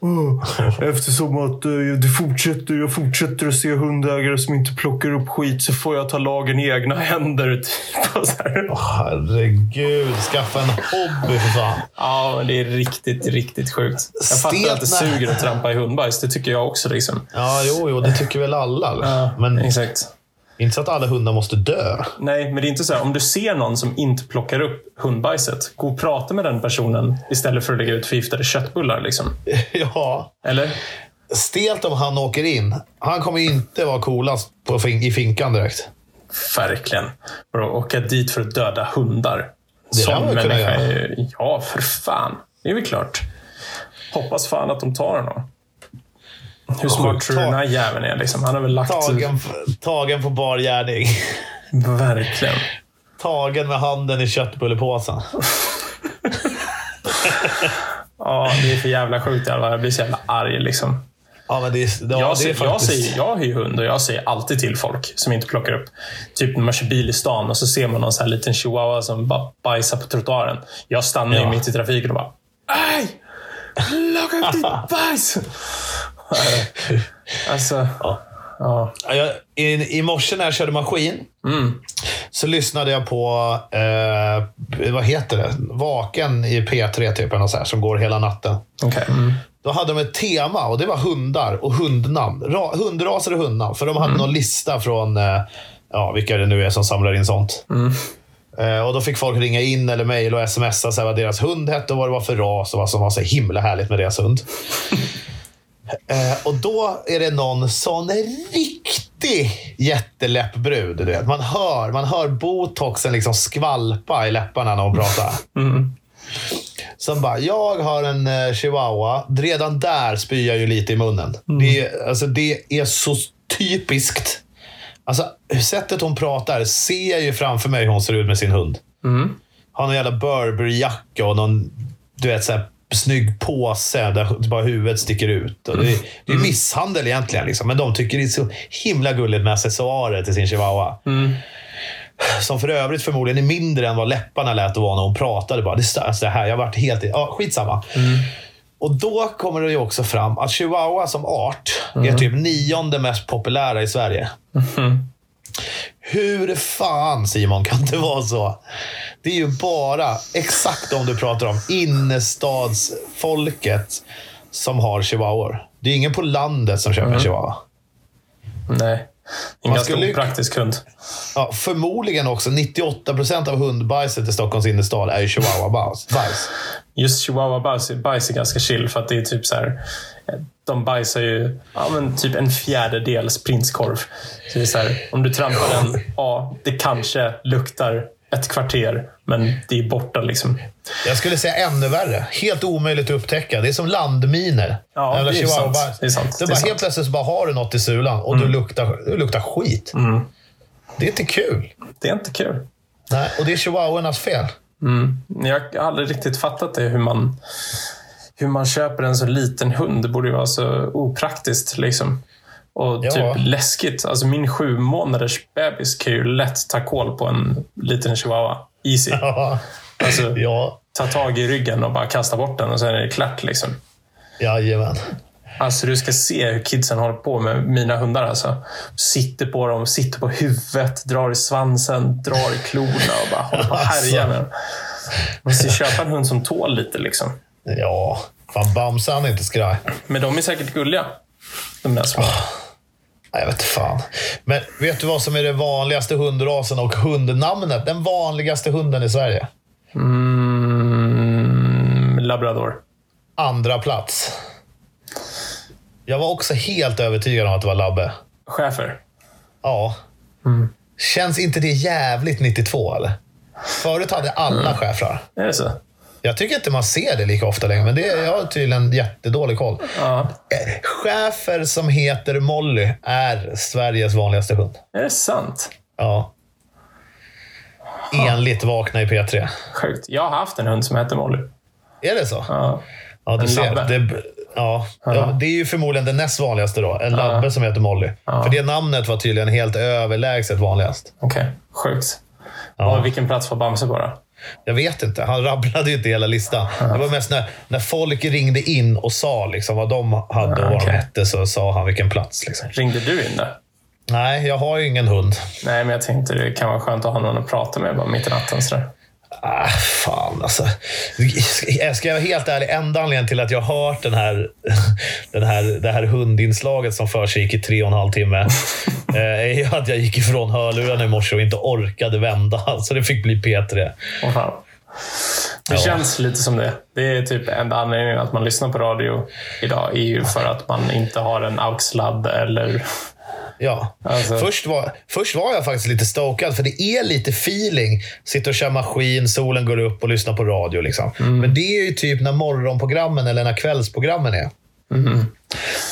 Speaker 2: "Åh, Eftersom att eh, det fortsätter, jag fortsätter att se hundägare som inte plockar upp skit så får jag ta lagen i egna händer. Typ. Och så här.
Speaker 1: Herregud, skaffa en hobby för fan.
Speaker 2: Ja, men det är riktigt, riktigt sjukt. Jag fattar att det
Speaker 1: Stelna.
Speaker 2: suger att trampa i hundbajs. Det tycker jag också. Liksom.
Speaker 1: Ja, jo, jo, det tycker väl alla. eller? Men
Speaker 2: Exakt.
Speaker 1: Inte så att alla hundar måste dö.
Speaker 2: Nej, men det är inte så här. Om du ser någon som inte plockar upp hundbajset, gå och prata med den personen istället för att lägga ut förgiftade köttbullar. Liksom.
Speaker 1: ja.
Speaker 2: Eller?
Speaker 1: Stelt om han åker in. Han kommer inte vara coolast på fin- i finkan direkt.
Speaker 2: Verkligen. Bro, åka dit för att döda hundar.
Speaker 1: Det
Speaker 2: Sån
Speaker 1: hade man kunnat
Speaker 2: människa
Speaker 1: göra.
Speaker 2: är ju- Ja, för fan. Det är väl klart. Hoppas fan att de tar honom. Hur smart tror du den här jäveln är? Liksom? Han har väl lagt...
Speaker 1: Tagen, tagen på bar gärning.
Speaker 2: Verkligen.
Speaker 1: Tagen med handen i köttbullepåsen.
Speaker 2: Ja, det är för jävla sjukt. jävlar. Jag blir så jävla arg. Liksom.
Speaker 1: Ja, men det är, ja,
Speaker 2: jag,
Speaker 1: det är
Speaker 2: säger, jag,
Speaker 1: faktiskt...
Speaker 2: säger, jag har ju hund och jag säger alltid till folk som inte plockar upp. Typ när man kör bil i stan och så ser man någon så här liten chihuahua som bara bajsar på trottoaren. Jag stannar ju
Speaker 1: Ja.
Speaker 2: mitt i trafiken och bara Aj! Plocka upp ditt bajs! alltså, ja.
Speaker 1: Ja, jag, i, I morse när jag körde maskin
Speaker 2: Mm.
Speaker 1: så lyssnade jag på, eh, vad heter det, Vaken i P3 typ, eller något så här, som går hela natten.
Speaker 2: Okej. Mm.
Speaker 1: Då hade de ett tema och det var hundar och hundnamn. Ra, hundraser och hundnamn. För de hade någon lista från eh, ja, vilka det nu är som samlar in sånt. Eh, och Då fick folk ringa in eller mejla och smsa så här, vad deras hund hette och vad det var för ras och vad som var så himla härligt med deras hund. Eh, och då är det någon sån riktig jätteläppbrud. Du vet. Man, hör, man hör botoxen liksom skvalpa i läpparna när hon pratar. Som bara, jag har en eh, chihuahua. Redan där spyr jag ju lite i munnen. Det, är, alltså, det är så typiskt. Alltså, sättet hon pratar ser jag ju framför mig hur hon ser ut med sin hund. Har någon jävla Burberry-jacka och någon du vet, så här, snygg påse där bara huvudet sticker ut. Och det, är- det är misshandel egentligen, liksom. men de tycker det är så himla gulligt med accessoarer till sin chihuahua. Som för övrigt förmodligen är mindre än vad läpparna lät att vara när hon pratade. Bara, det, är så- alltså, det här, jag har varit helt... i- Ja, skitsamma. Och då kommer det ju också fram att chihuahua som art är typ nionde mest populära i Sverige. Hur fan Simon kan det vara så? Det är ju bara exakt om du pratar om innerstadsfolket som har chihuahuor. Det är ingen på landet som köper en chihuahua.
Speaker 2: Nej. En
Speaker 1: Man
Speaker 2: ganska
Speaker 1: skulle ju-
Speaker 2: opraktisk hund.
Speaker 1: Ja, förmodligen också 98% av hundbajset i Stockholms innerstad är ju chihuahua-bajs. Bajs.
Speaker 2: Just chihuahua bajs, bajs är ganska chill för att det är typ så här. De bajsar ju ja, men typ en fjärdedels prinskorv. Så det är så här, om du trampar den, ja, det kanske luktar ett kvarter, men det är borta liksom.
Speaker 1: Jag skulle säga ännu värre. Helt omöjligt att upptäcka. Det är som landminer.
Speaker 2: Ja,
Speaker 1: Jävla
Speaker 2: det är ju
Speaker 1: chihuahua-bajs.
Speaker 2: sant. Det är sant.
Speaker 1: Det är
Speaker 2: Det är
Speaker 1: bara
Speaker 2: sant. Mm.
Speaker 1: helt plötsligt så bara har du något i sulan och du, luktar, du luktar skit. Det är inte kul.
Speaker 2: Det är inte kul.
Speaker 1: Nej, och det är chihuahuornas fel.
Speaker 2: Men Jag har aldrig riktigt fattat det, hur man, hur man köper en så liten hund. Det borde ju vara så opraktiskt. liksom. Och
Speaker 1: Ja.
Speaker 2: typ läskigt. Alltså min sju månaders bebis kan ju lätt ta koll på en liten chihuahua. Easy.
Speaker 1: Ja,
Speaker 2: Alltså,
Speaker 1: ja
Speaker 2: ta tag i ryggen och bara kasta bort den och sen är det klart. Liksom.
Speaker 1: jajamän.
Speaker 2: Alltså du ska se hur kidsen håller på med mina hundar. Alltså. Sitter på dem, sitter på huvudet, drar i svansen, drar i klorna och bara håller på och härjar med dem. Man ska köpa en hund som tål lite. Liksom.
Speaker 1: Ja, fan Bamsan är inte skraj.
Speaker 2: Men de är säkert gulliga. De där små.
Speaker 1: Nej, jag vet inte fan. Men vet du vad som är den vanligaste hundrasen och hundnamnet? Den vanligaste hunden i Sverige.
Speaker 2: Mm, labrador.
Speaker 1: Andra plats. Jag var också helt övertygad om att det var Labbe.
Speaker 2: Schäfer.
Speaker 1: Ja. Känns inte det jävligt 92 eller? Förut hade alla schäfrar.
Speaker 2: Är det så?
Speaker 1: Jag tycker inte man ser det lika ofta längre, men det jag har tydligen jättedålig koll.
Speaker 2: Ja.
Speaker 1: Eh, Schäfer som heter Molly är Sveriges vanligaste hund.
Speaker 2: Är det sant?
Speaker 1: Ja. Enligt Vakna i P3.
Speaker 2: Sjukt. Jag har haft en hund som hette Molly.
Speaker 1: Är det så?
Speaker 2: Ja.
Speaker 1: Ja, du
Speaker 2: En
Speaker 1: ser.
Speaker 2: labbe.
Speaker 1: Det, ja. Ja, det är ju förmodligen den näst vanligaste då. En labbe som heter Molly. För det namnet var tydligen helt överlägset vanligast.
Speaker 2: Okej, sjukt. Och vilken plats får Bamse på då?
Speaker 1: Jag vet inte. Han rabblade ju inte hela listan. Det var mest när, när folk ringde in och sa liksom vad de hade och vad de
Speaker 2: okej.
Speaker 1: hette, så sa han vilken plats. Liksom.
Speaker 2: Ringde du in där?
Speaker 1: Nej, jag har ju ingen hund.
Speaker 2: Nej, men jag tänkte det kan vara skönt att ha någon att prata med bara mitt i natten. Sådär.
Speaker 1: Ah, fan alltså. Jag ska jag vara helt ärlig, enda anledningen till att jag har hört den här, den här, det här hundinslaget som försiggick i tre och en halv timme eh, är ju att jag gick ifrån hörlurarna i morse och inte orkade vända. Så det fick bli P3.
Speaker 2: Åh, fan. Det
Speaker 1: Ja.
Speaker 2: känns lite som det. Det är typ enda anledningen att man lyssnar på radio idag är ju för att man inte har en aux-ladd eller...
Speaker 1: Ja.
Speaker 2: Alltså-
Speaker 1: Först, var, först var jag faktiskt lite stokad, för det är lite feeling. Sitta och köra maskin, solen går upp och lyssna på radio. Liksom. Men det är ju typ när morgonprogrammen eller när kvällsprogrammen är.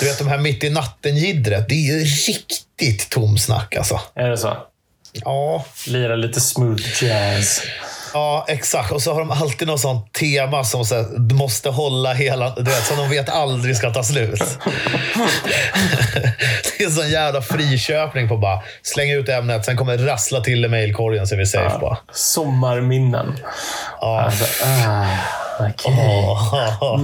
Speaker 1: Du vet, de här mitt i natten-jiddret. Det är ju riktigt tomsnack alltså.
Speaker 2: Är det så?
Speaker 1: Ja,
Speaker 2: Lira lite smooth jazz.
Speaker 1: Ja, exakt. Och så har de alltid något sånt tema som så här, du måste hålla hela... Du vet, som de vet aldrig ska ta slut. det är en sån jävla friköpning på bara släng ut ämnet, sen kommer det rassla till i mejlkorgen så är vi safe bara.
Speaker 2: Sommarminnen.
Speaker 1: Ja.
Speaker 2: Alltså, ah, okej.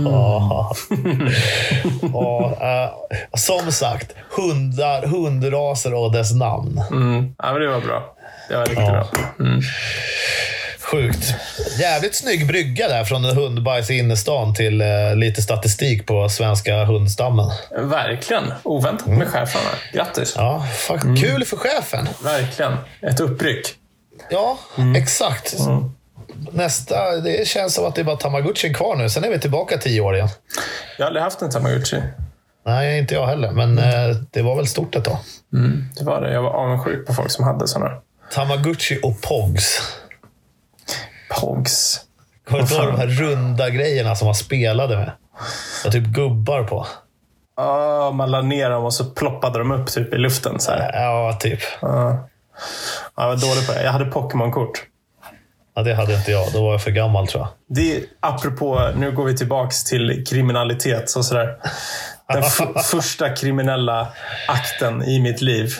Speaker 1: Ja, eh, som sagt, hundar, hundraser och dess namn.
Speaker 2: Mm. Ja, men det var bra. Det var riktigt bra. Mm.
Speaker 1: Sjukt. Jävligt snygg brygga där från en hundbajs i innerstan till eh, lite statistik på svenska hundstammen.
Speaker 2: Verkligen. Oväntat med cheferna. Grattis.
Speaker 1: Ja, fuck, kul för chefen.
Speaker 2: Verkligen. Ett uppryck.
Speaker 1: Ja, exakt. Nästa, det känns som att det är bara Tamagotchin kvar nu. Sen är vi tillbaka tio år igen.
Speaker 2: Jag har aldrig haft en Tamagotchi.
Speaker 1: Nej, inte jag heller, men eh, det var väl stort ett tag.
Speaker 2: Det var det. Jag var avundsjuk på folk som hade såna.
Speaker 1: Tamagotchi och Pogs.
Speaker 2: Pogs.
Speaker 1: Kommer du ihåg de här runda grejerna som man spelade med? Och typ gubbar på.
Speaker 2: Ah, man la ner dem och så ploppade de upp typ i luften. Så här.
Speaker 1: Ja, typ.
Speaker 2: Ja, jag var dålig på det. Jag hade Pokémon-kort.
Speaker 1: Ja, det hade inte jag. Då var jag för gammal tror jag.
Speaker 2: Det är, apropå, nu går vi tillbaks till kriminalitet och sådär. Den f- första kriminella akten i mitt liv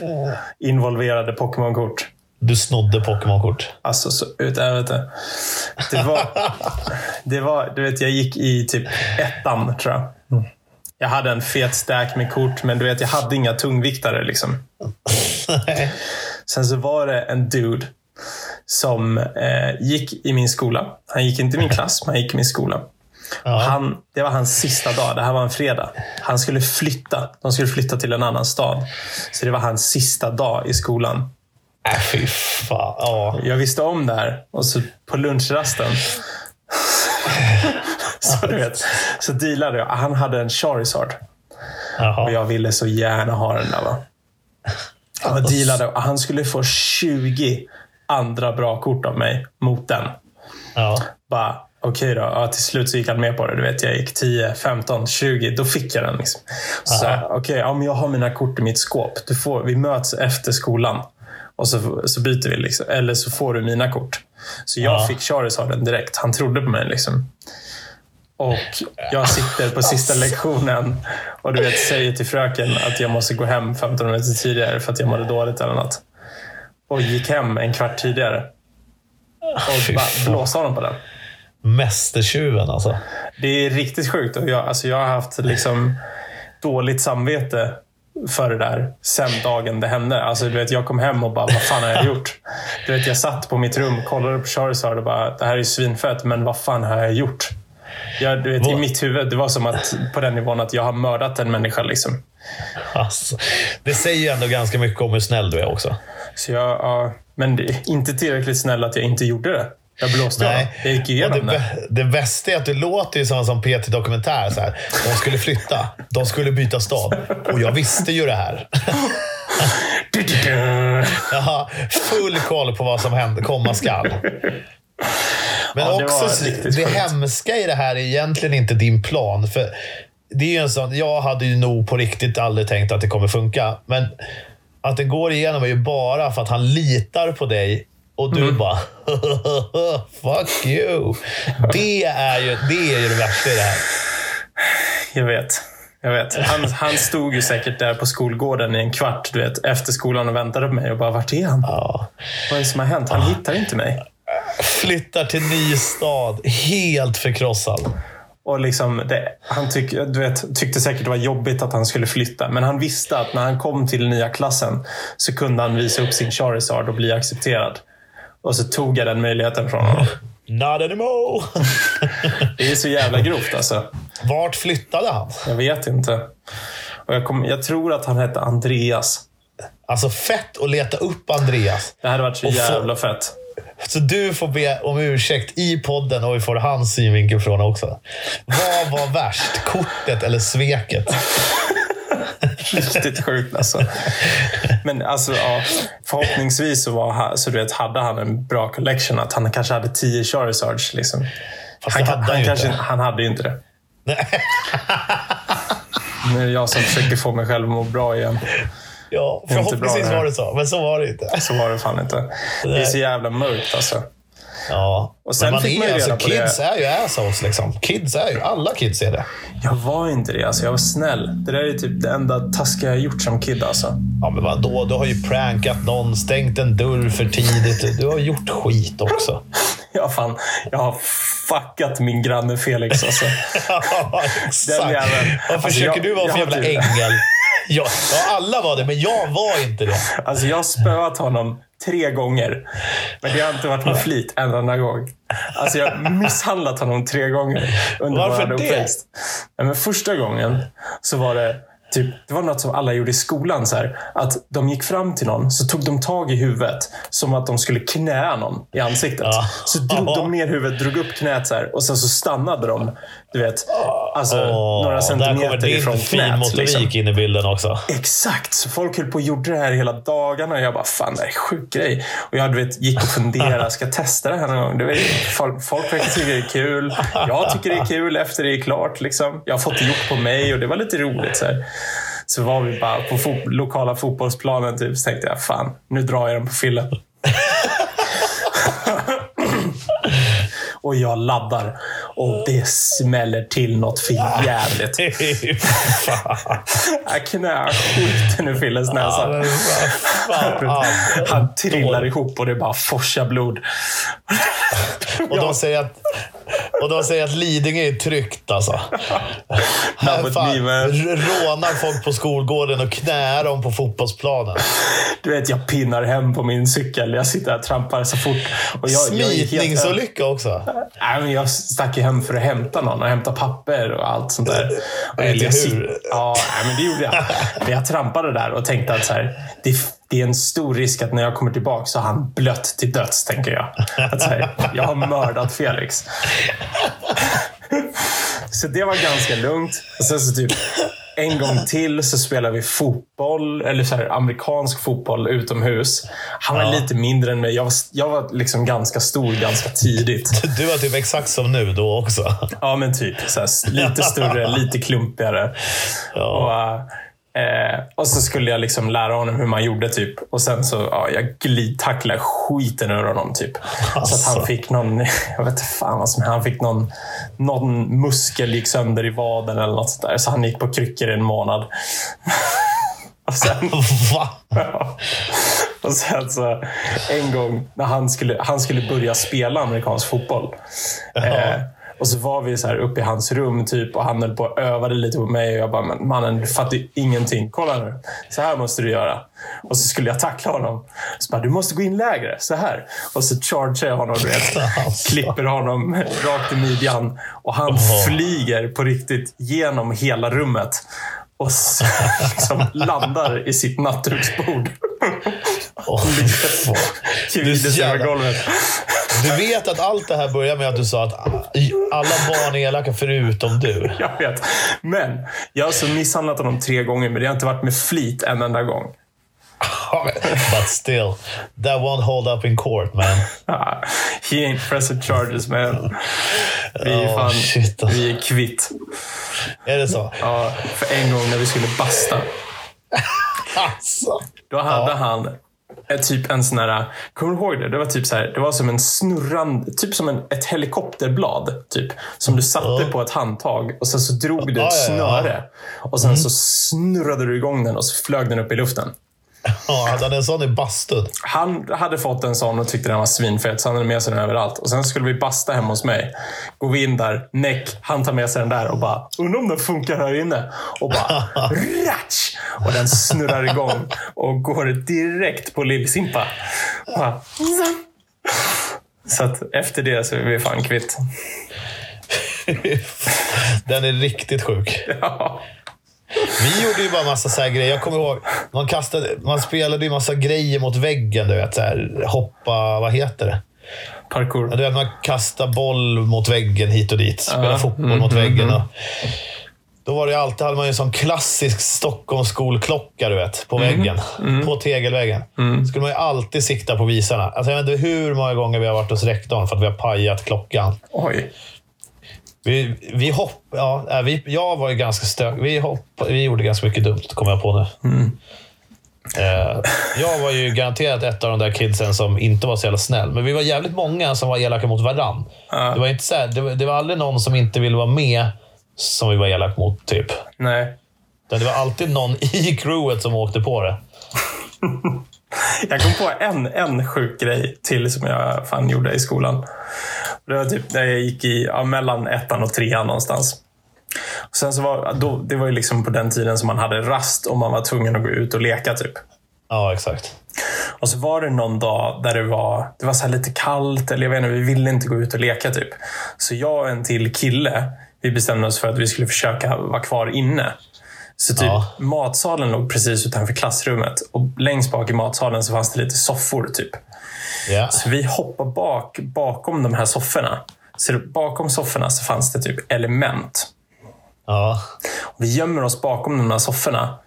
Speaker 2: involverade Pokémon-kort.
Speaker 1: Du snodde Pokémon-kort.
Speaker 2: Alltså, så ut, jag vet inte. Det var, det var, du vet, jag gick i typ ettan, tror jag. Jag hade en fet stack med kort, men du vet, jag hade inga tungviktare. Liksom. Sen så var det en dude som eh, gick i min skola. Han gick inte i min klass, men han gick i min skola. Och Han, det var hans sista dag. Det här var en fredag. Han skulle flytta. De skulle flytta till en annan stad. Så det var hans sista dag i skolan.
Speaker 1: Äh, fy fan. Ja.
Speaker 2: Jag visste om det här och så på lunchrasten så, du vet, så dealade jag. Han hade en Charizard och
Speaker 1: Jaha.
Speaker 2: jag ville så gärna ha den där. Va? Jag dealade och han skulle få 20 andra bra kort av mig mot den.
Speaker 1: Ja.
Speaker 2: Bara, okej då. Ja, till slut så gick han med på det. Du vet, jag gick 10, 15, 20. Då fick jag den. Liksom. Så sa jag, okej, ja, men jag har mina kort i mitt skåp. Du får, vi möts efter skolan. Och så, så byter vi. Liksom. Eller så får du mina kort. Så jag fick Charizarden direkt. Han trodde på mig. Liksom. Och jag sitter på sista
Speaker 1: Alltså.
Speaker 2: lektionen och du vet, säger till fröken att jag måste gå hem 15 minuter tidigare för att jag mådde dåligt eller något. Och gick hem en kvart tidigare. Och
Speaker 1: Fy
Speaker 2: bara
Speaker 1: fan.
Speaker 2: blåsa honom på den.
Speaker 1: Mästertjuven alltså.
Speaker 2: Det är riktigt sjukt. Och jag, alltså jag har haft liksom dåligt samvete för det där sen dagen det hände. Alltså, du vet, jag kom hem och bara, vad fan har jag gjort? Du vet, jag satt på mitt rum, kollade på Charizard och bara, det här är ju svinfett, men vad fan har jag gjort? Jag, du vet, I
Speaker 1: Vad-
Speaker 2: mitt huvud, det var som att på den nivån att jag har mördat en människa. Liksom.
Speaker 1: Alltså, det säger ju ändå ganska mycket om hur snäll du är också.
Speaker 2: Så jag, ja, men det är inte tillräckligt snäll att jag inte gjorde det. Jag blåste honom. Jag gick
Speaker 1: Och
Speaker 2: igenom
Speaker 1: det,
Speaker 2: det.
Speaker 1: bä- det bästa är att du låter ju som en sån P3 Dokumentär. Så här. De skulle flytta. De skulle byta stad. Och jag visste ju det här. Jag har full koll på vad som hände, komma skall. Men
Speaker 2: Ja, det var
Speaker 1: också,
Speaker 2: riktigt
Speaker 1: det,
Speaker 2: sjukt.
Speaker 1: hemska i det här är egentligen inte din plan. För det är ju en sån, jag hade ju nog på riktigt aldrig tänkt att det kommer funka. Men att det går igenom är ju bara för att han litar på dig och du
Speaker 2: Mm.
Speaker 1: bara fuck you. Det är, ju, det är ju det värsta i det här.
Speaker 2: Jag vet. Jag vet. Han, han stod ju säkert där på skolgården i en kvart du vet, efter skolan och väntade på mig och bara, vart är han?
Speaker 1: Ja.
Speaker 2: Vad är det som har hänt? Han hittar inte mig.
Speaker 1: Flyttar till ny stad, helt förkrossad.
Speaker 2: Och liksom, det, han tyck, du vet, tyckte säkert det var jobbigt att han skulle flytta, men han visste att när han kom till nya klassen så kunde han visa upp sin Charizard och bli accepterad. Och så tog jag den möjligheten från honom.
Speaker 1: Not anymore!
Speaker 2: Det är så jävla grovt alltså.
Speaker 1: Vart flyttade han?
Speaker 2: Jag vet inte. Och jag, kom, jag tror att han hette Andreas.
Speaker 1: Alltså fett att leta upp Andreas.
Speaker 2: Det hade varit så
Speaker 1: Och få-
Speaker 2: jävla fett.
Speaker 1: Så du får be om ursäkt i podden och vi får hans synvinkel från också. Vad var värst? Kortet eller sveket?
Speaker 2: Riktigt sjukt alltså. Men alltså, ja, förhoppningsvis så, var, han- så du vet, hade han en bra collection. Att han kanske hade 10 Charizards. Liksom.
Speaker 1: Fast
Speaker 2: Han,
Speaker 1: det
Speaker 2: kan-
Speaker 1: hade han
Speaker 2: han,
Speaker 1: ju
Speaker 2: kanske,
Speaker 1: inte.
Speaker 2: han hade ju inte det. Nu är det jag som försöker få mig själv att må bra igen.
Speaker 1: Ja,
Speaker 2: är inte
Speaker 1: förhoppningsvis
Speaker 2: bra det här.
Speaker 1: var det så, men så var det inte.
Speaker 2: Så var det fan inte. Det är så jävla mörkt alltså.
Speaker 1: Ja.
Speaker 2: Och sen
Speaker 1: men man
Speaker 2: fick man
Speaker 1: är, alltså
Speaker 2: ju reda på det.
Speaker 1: kids är ju assholes liksom. Kids är ju, alla kids är det.
Speaker 2: Jag var inte det. Alltså. Jag var snäll. Det där är typ det enda taskiga jag gjort som kid. Alltså.
Speaker 1: Ja, men vadå? Du har ju prankat någon, stängt en dörr för tidigt. Du har gjort skit också.
Speaker 2: Jag, fan, jag har fuckat min granne Felix. Alltså.
Speaker 1: Ja,
Speaker 2: Den
Speaker 1: exakt.
Speaker 2: jäveln.
Speaker 1: Vad
Speaker 2: Alltså,
Speaker 1: försöker
Speaker 2: jag-
Speaker 1: du vara för
Speaker 2: jag
Speaker 1: jävla
Speaker 2: har typ-
Speaker 1: ängel? Ja, ja, alla var det, men jag var inte det.
Speaker 2: Alltså, jag har spöat honom tre gånger. Men det har inte varit med flit en enda gång. Alltså, jag har misshandlat honom tre gånger under
Speaker 1: Varför
Speaker 2: vår
Speaker 1: det?
Speaker 2: uppväxt. Nej, men första gången så var det Typ, det var något som alla gjorde i skolan. Så här, att De gick fram till någon, så tog de tag i huvudet som att de skulle knäa någon i ansiktet.
Speaker 1: Ja.
Speaker 2: Så drog de ner huvudet, drog upp knät så här, och sen så stannade de du vet, alltså,
Speaker 1: Åh,
Speaker 2: några
Speaker 1: Där
Speaker 2: centimeter
Speaker 1: kommer din
Speaker 2: ifrån
Speaker 1: fin
Speaker 2: knät.
Speaker 1: motorik
Speaker 2: Liksom.
Speaker 1: in i bilden också.
Speaker 2: Exakt, så folk höll på och gjorde det här hela dagarna och jag bara, fan det här är sjuk grej. Och jag du vet, gick och funderade, ska jag testa det här någon gång? Du vet, folk, folk verkar tycka det är kul. Jag tycker det är kul efter det är klart. Liksom. Jag har fått det gjort på mig och det var lite roligt. Så, här. så var vi bara på fo- lokala fotbollsplanen typ, så tänkte jag, fan nu drar jag den på fillen. och jag laddar och det smäller till något för jävligt.
Speaker 1: Fan.
Speaker 2: Jag knäar skiten ur Filles
Speaker 1: Ja,
Speaker 2: näsa.
Speaker 1: men vad fan.
Speaker 2: Han trillar ihop och det bara forsar blod.
Speaker 1: Och de säger att, och de säger att Lidingö är tryggt alltså. Här
Speaker 2: Något
Speaker 1: fan,
Speaker 2: livet.
Speaker 1: r- rånar folk på skolgården och knäar dem på fotbollsplanen.
Speaker 2: Du vet, jag pinnar hem på min cykel. Jag sitter här och trampar så fort. Och jag, jag är helt-
Speaker 1: Smitningsolycka också.
Speaker 2: Nej, men jag stack ju hem för att hämta någon och hämta papper och allt sånt där. Och
Speaker 1: Eller
Speaker 2: jag
Speaker 1: hur?
Speaker 2: sit- Ja, nej, men det gjorde jag. Men jag trampade där och tänkte att så här, det, det är en stor risk att när jag kommer tillbaka så har han blött till döds, tänker jag. Att så här, jag har mördat Felix. Så det var ganska lugnt. Och sen så typ en gång till så spelade vi fotboll, eller så här, amerikansk fotboll utomhus. Han var lite mindre än mig. Jag var, jag var liksom ganska stor ganska tidigt.
Speaker 1: Du var typ exakt som nu då också.
Speaker 2: Ja, men typ. Så här, lite större, lite klumpigare. Och, eh, och så skulle jag liksom lära honom hur man gjorde. typ. Och sen så ja, jag glidtacklade skiten ur honom. typ. Så att
Speaker 1: Alltså.
Speaker 2: han fick någon, jag vet inte fan vad som Han fick någon, någon muskel gick sönder i vaden eller något sånt där. Så han gick på kryckor i en månad. och sen,
Speaker 1: Va?
Speaker 2: och sen så en gång när han skulle, han skulle börja spela amerikansk fotboll. Eh, och så var vi så här uppe i hans rum typ och han höll på och övade lite på mig. Och jag bara, men mannen du fattar ju ingenting. Kolla nu. Så här måste du göra. Och så skulle jag tackla honom. Så bara, du måste gå in lägre. Så här. Och så chargear jag honom. Du vet. Klipper honom rakt i midjan. Och han flyger på riktigt genom hela rummet. Och så, liksom, landar i sitt nattduksbord.
Speaker 1: Åh, fan.
Speaker 2: Kul
Speaker 1: så
Speaker 2: sig över
Speaker 1: jävla-
Speaker 2: golvet.
Speaker 1: Du vet att allt det här börjar med att du sa att alla barn är elaka förutom du.
Speaker 2: Jag vet. Men jag har alltså misshandlat honom tre gånger, men det har inte varit med flit en enda gång.
Speaker 1: But still, that won't hold up in court man.
Speaker 2: Ah, He ain't pressed charges man. Vi är,
Speaker 1: Ja,
Speaker 2: fan,
Speaker 1: shit, alltså.
Speaker 2: vi är kvitt.
Speaker 1: Är det så?
Speaker 2: Ja, för en gång när vi skulle basta,
Speaker 1: Alltså.
Speaker 2: då hade han ett, typ en sån här, kommer du ihåg det? Det var typ så här, det var som en snurrande, typ som en, ett helikopterblad typ. Som du satte på ett handtag och sen så drog du
Speaker 1: Ja,
Speaker 2: ett
Speaker 1: ja, ja. Mm.
Speaker 2: snöre. Och sen så snurrade du igång den och så flög den upp i luften.
Speaker 1: Ja, hade han en sån i bastun?
Speaker 2: Han hade fått en sån och tyckte den var svinfet, så han hade med sig den överallt. Och Sen skulle vi basta hemma hos mig. Går vi in där, näck, han tar med sig den där och bara, undrar om den funkar här inne? Och bara, ratsch! Och den snurrar igång och går direkt på Lillsimpa. Bara, Så att efter det så är vi fan kvitt.
Speaker 1: Den är riktigt sjuk.
Speaker 2: Ja.
Speaker 1: Vi gjorde ju bara massa så här grejer. Jag kommer ihåg, man, kastade, man spelade ju massa grejer mot väggen. Du vet, så här, hoppa, vad heter det? Ja,
Speaker 2: Parkour.
Speaker 1: Du vet, man kastar boll mot väggen hit och dit. Spelar fotboll mot väggen. Och, då var det ju alltid, hade man ju en sån klassisk Stockholms skolklocka, du vet, på väggen. På tegelväggen. skulle man ju alltid sikta på visarna. Alltså, jag vet inte hur många gånger vi har varit hos rektorn för att vi har pajat klockan.
Speaker 2: Oj.
Speaker 1: Vi, vi hopp, ja, äh, vi, jag var ju ganska stökig. Vi, hopp, vi gjorde ganska mycket dumt, kommer jag på nu. Eh, jag var ju garanterat ett av de där kidsen som inte var så jävla snäll. Men vi var jävligt många som var elaka mot varann.
Speaker 2: Ja.
Speaker 1: Det, var inte så här, det, var, det var aldrig någon som inte ville vara med som vi var elak mot, typ.
Speaker 2: Nej.
Speaker 1: Utan Det var alltid någon i crewet som åkte på det.
Speaker 2: Jag kom på en, en sjuk grej till som jag fan gjorde i skolan. Det var typ när jag gick i, ja, mellan ettan och trean någonstans. Och sen så var, då, det var ju liksom på den tiden som man hade rast och man var tvungen att gå ut och leka. typ.
Speaker 1: Ja, exakt.
Speaker 2: Och så var det någon dag där det var, det var så här lite kallt, eller jag vet inte, vi ville inte gå ut och leka typ. Så jag och en till kille, vi bestämde oss för att vi skulle försöka vara kvar inne. Så typ,
Speaker 1: Ja.
Speaker 2: matsalen låg precis utanför klassrummet och längst bak i matsalen så fanns det lite soffor typ.
Speaker 1: Ja.
Speaker 2: Så vi hoppar bak, bakom de här sofforna. Så det- bakom sofforna så fanns det typ element.
Speaker 1: Ja.
Speaker 2: Vi gömmer oss bakom de här sofforna.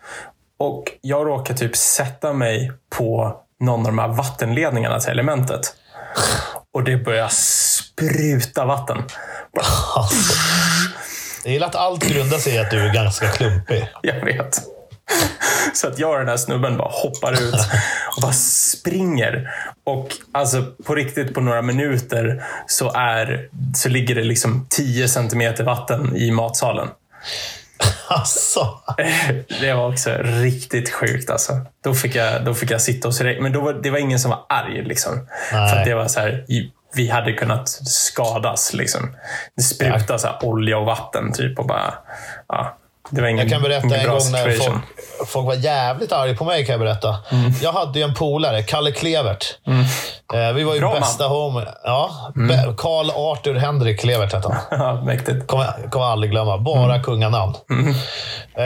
Speaker 2: Och jag råkar typ sätta mig på någon av de här vattenledningarna till elementet. Och det börjar spruta vatten.
Speaker 1: Jag gillar att allt grundar sig i att du är ganska klumpig.
Speaker 2: Jag vet. Så att jag och den här snubben bara hoppar ut och bara springer. Och alltså på riktigt på några minuter så, är, så ligger det liksom 10 centimeter vatten i matsalen.
Speaker 1: Alltså.
Speaker 2: Det var också riktigt sjukt alltså. Då fick jag, då fick jag sitta hos rektorn. Men då var, det var ingen som var arg liksom. För att det var så här, vi hade kunnat skadas liksom. Det sprutade så här, olja och vatten typ och bara, ja. Det var ingen,
Speaker 1: Jag kan berätta
Speaker 2: ingen
Speaker 1: en
Speaker 2: bra
Speaker 1: gång när
Speaker 2: situation.
Speaker 1: folk, folk var jävligt arga på mig. kan Jag berätta.
Speaker 2: Mm.
Speaker 1: Jag hade ju en polare, Kalle Klevert. Eh, vi var ju
Speaker 2: Bra man. Mm.
Speaker 1: bästa homie. Ja, be- Karl Arthur Henrik Klevert hette han.
Speaker 2: Ja, mäktigt.
Speaker 1: Kommer kommer jag aldrig glömma. Bara kunganamn. Eh,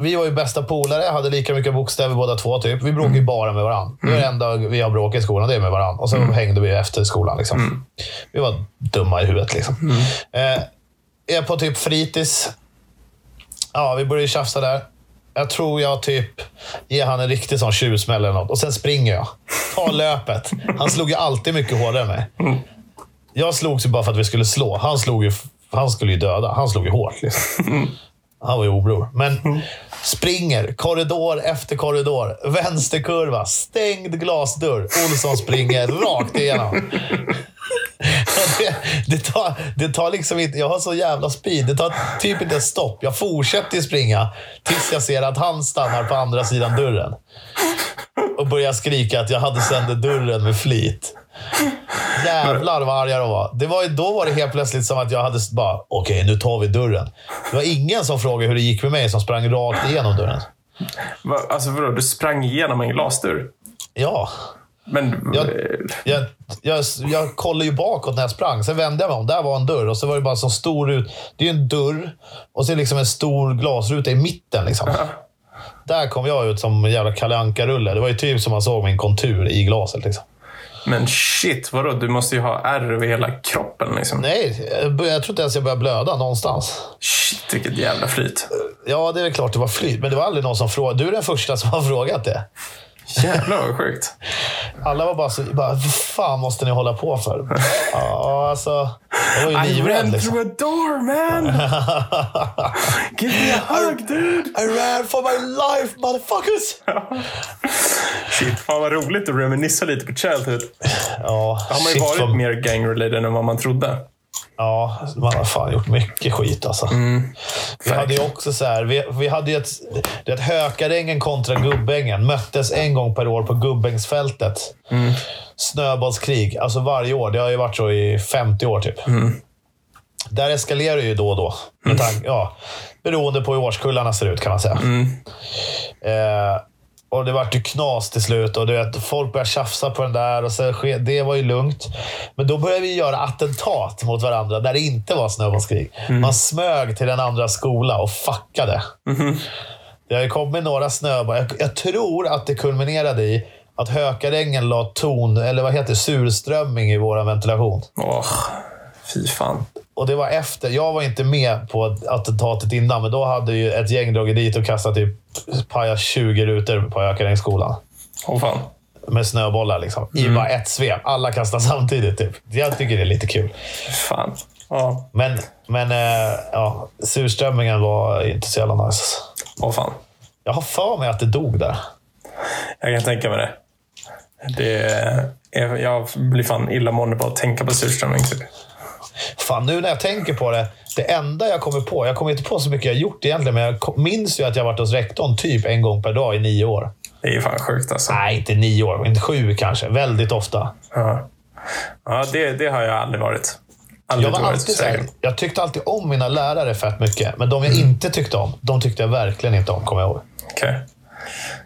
Speaker 1: vi var ju bästa polare, hade lika mycket bokstäver båda två. typ. Vi bråkade ju bara med varandra. Det var det enda vi har bråk i skolan, det är med varandra. Och sen hängde vi efter skolan. Liksom. Vi var dumma i huvudet. Liksom. Eh, är på typ fritids. Ja, vi började tjafsa där. Jag tror jag typ ger han en riktig sån tjuvsmäll eller något. Och sen springer jag. Tar löpet. Han slog ju alltid mycket hårdare än mig. Jag slogs ju bara för att vi skulle slå. Han, slog ju, han skulle ju döda. Han slog ju hårt. Liksom. Han var ju obror. Men springer korridor efter korridor. Vänsterkurva, stängd glasdörr. Olsson springer rakt igenom. Det, det, tar, det tar liksom inte... Jag har så jävla speed. Det tar typ inte ett stopp. Jag fortsätter ju springa tills jag ser att han stannar på andra sidan dörren. Och börjar skrika att jag hade sönder dörren med flit. Jävlar vad arga de var. Det var ju, då var det helt plötsligt som att jag hade s- bara, okej nu tar vi dörren. Det var ingen som frågade hur det gick med mig som sprang rakt igenom dörren.
Speaker 2: Va, alltså vadå, du sprang igenom en glasdörr?
Speaker 1: Ja,
Speaker 2: Men
Speaker 1: Ja.
Speaker 2: eh,
Speaker 1: jag, jag, jag kollade ju bakåt när jag sprang. Sen vände jag mig om. Där var en dörr och så var det bara en sån stor ut. Det är ju en dörr och så är det liksom en stor glasruta i mitten. Liksom. Där kom jag ut som en jävla Kalle Anka-rulle. Det var ju typ som man såg min kontur i glaset. Liksom.
Speaker 2: men shit, vadå? Du måste ju ha ärr över hela kroppen liksom.
Speaker 1: Nej, jag bör- jag tror inte ens jag började blöda någonstans.
Speaker 2: Shit, vilket jävla flyt.
Speaker 1: Ja, det är väl klart det var flyt, men det var aldrig någon som frågade. Du är den första som har frågat det.
Speaker 2: Jävlar vad sjukt.
Speaker 1: Alla var bara så, bara, vad fan måste ni hålla på för? Ja, alltså. Jag var ju
Speaker 2: I
Speaker 1: livrädd
Speaker 2: ran
Speaker 1: liksom.
Speaker 2: through a door man! Give me a hug dude!
Speaker 1: I ran for my life motherfuckers!
Speaker 2: Shit, fan vad roligt att reminissa lite på Childhood.
Speaker 1: Ja,
Speaker 2: Då har man ju
Speaker 1: shit,
Speaker 2: varit
Speaker 1: vad-
Speaker 2: mer gang-related än vad man trodde.
Speaker 1: Ja, man har fan gjort mycket skit alltså. Vi hade ju
Speaker 2: verkligen.
Speaker 1: också så här, vi, vi hade ju ett, det är ett Hökarängen kontra Gubbängen. Möttes en gång per år på Gubbängsfältet. Snöbollskrig, alltså varje år. Det har ju varit så i 50 år typ. Där eskalerar det ju då och då. Med tanke, ja, beroende på hur årskullarna ser ut kan man säga. Eh, Och det vart ju knas till slut och du vet, folk började tjafsa på den där. Och så, ske- det var ju lugnt. Men då började vi göra attentat mot varandra där det inte var snöbollskrig. Man smög till den andra skola och fuckade. Det har ju kommit några snöbollar. Jag, jag tror att det kulminerade i att Hökarängen la ton, eller vad heter det, surströmming i vår ventilation.
Speaker 2: Åh, fy fan.
Speaker 1: Och det var efter. Jag var inte med på attentatet innan, men då hade ju ett gäng dragit dit och kastat typ pajat 20 rutor på Hökarängsskolan.
Speaker 2: Åh fan.
Speaker 1: Med snöbollar liksom. I bara ett svep. Alla kastar samtidigt. Typ. Jag tycker det är lite kul.
Speaker 2: Fan. Ja,
Speaker 1: Men, men eh, ja, surströmmingen var inte så jävla nice.
Speaker 2: åh fan.
Speaker 1: Jag har för mig att det dog där.
Speaker 2: Jag kan tänka mig det. det är, jag blir fan illamående bara att tänka på surströmming. Typ.
Speaker 1: Fan, nu när jag tänker på det. Det enda jag kommer på, jag kommer inte på så mycket jag gjort egentligen, men jag kom- minns ju att jag varit hos rektorn typ en gång per dag i nio år.
Speaker 2: Det är ju fan sjukt alltså.
Speaker 1: Nej, inte nio år, inte sju kanske. Väldigt ofta.
Speaker 2: Ja, ja det, det har jag aldrig varit. Aldrig
Speaker 1: Jag, var
Speaker 2: varit
Speaker 1: alltid så här,
Speaker 2: säker.
Speaker 1: jag tyckte alltid om mina lärare fett mycket, men de jag inte tyckte om, de tyckte jag verkligen inte om, kommer jag ihåg.
Speaker 2: Okej.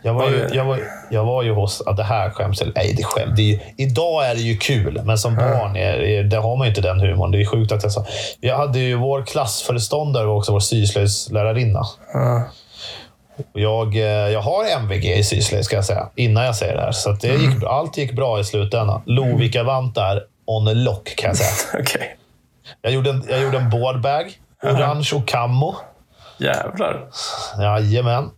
Speaker 1: Jag var,
Speaker 2: Var
Speaker 1: ju,
Speaker 2: det-
Speaker 1: jag var, jag var ju hos... Att det här skäms jag- Nej, det skäms. Det är, ju- idag är det ju kul, men som barn är, är, där har man ju inte den humorn. Det är sjukt att jag sa... Jag hade ju vår klassföreståndare var också vår syslöjdslärarinna.
Speaker 2: Ja.
Speaker 1: Och Jag, eh, jag har MVG i syslöjd, ska jag säga, innan jag säger det här. Så att det gick, allt gick bra i slutändan. Lovika vant där on a lock, kan jag säga.
Speaker 2: Okej.
Speaker 1: Jag gjorde en, jag gjorde en boardbag, orange och kammo.
Speaker 2: Jävlar.
Speaker 1: Jajamän.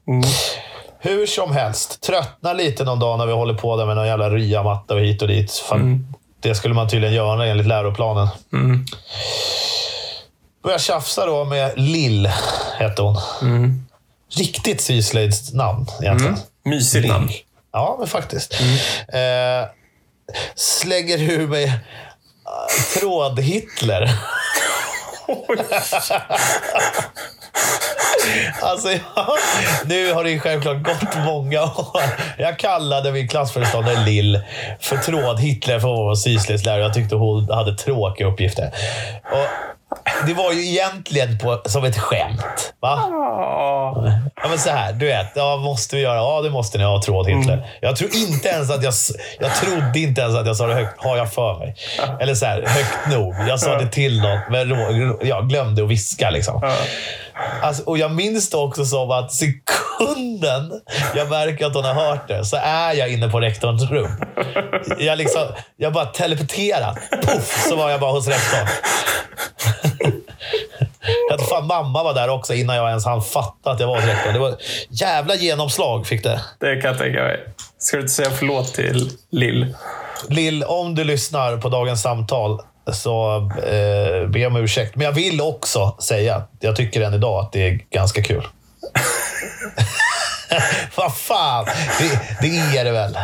Speaker 1: Hur som helst, tröttna lite någon dag när vi håller på där med någon jävla ryamatta och hit och dit. Fan, Det skulle man tydligen göra enligt läroplanen.
Speaker 2: Mm.
Speaker 1: Börjar tjafsa då med Lill, hette hon. Riktigt syslöjdsnamn egentligen.
Speaker 2: Mysigt namn.
Speaker 1: Ja, men faktiskt. Eh, slänger ur mig eh, tråd-Hitler. alltså, jag, nu har det ju självklart gått många år. Jag kallade min klassföreståndare Lill för tråd-Hitler för hon var syslöjdslärare. Jag tyckte hon hade tråkiga uppgifter. Och det var ju egentligen på, som ett skämt. Va?
Speaker 2: Ja.
Speaker 1: Ja, men så här, du vet. Ja, måste vi göra? Ja, det måste ni ha, tråd Hitler. Jag tror inte ens att jag... s- Jag trodde inte ens att jag sa det högt, har jag för mig. Eller så här, högt nog. Jag sa det till någon, men rå- rå- jag glömde att viska liksom. Alltså, och jag minns det också som att sekunden jag märker att hon har hört det, så är jag inne på rektorns rum. Jag, liksom, jag bara teleporterar. Puff, så var jag bara hos rektorn. Jag tror fan mamma var där också innan jag ens hann fatta att jag var hos rektorn. Det var jävla genomslag fick det.
Speaker 2: Det kan jag tänka mig. Ska du inte säga förlåt till Lill?
Speaker 1: Lill, om du lyssnar på dagens samtal så eh, be om ursäkt. Men jag vill också säga, jag tycker än idag att det är ganska kul. Vad fan, det, det är det väl?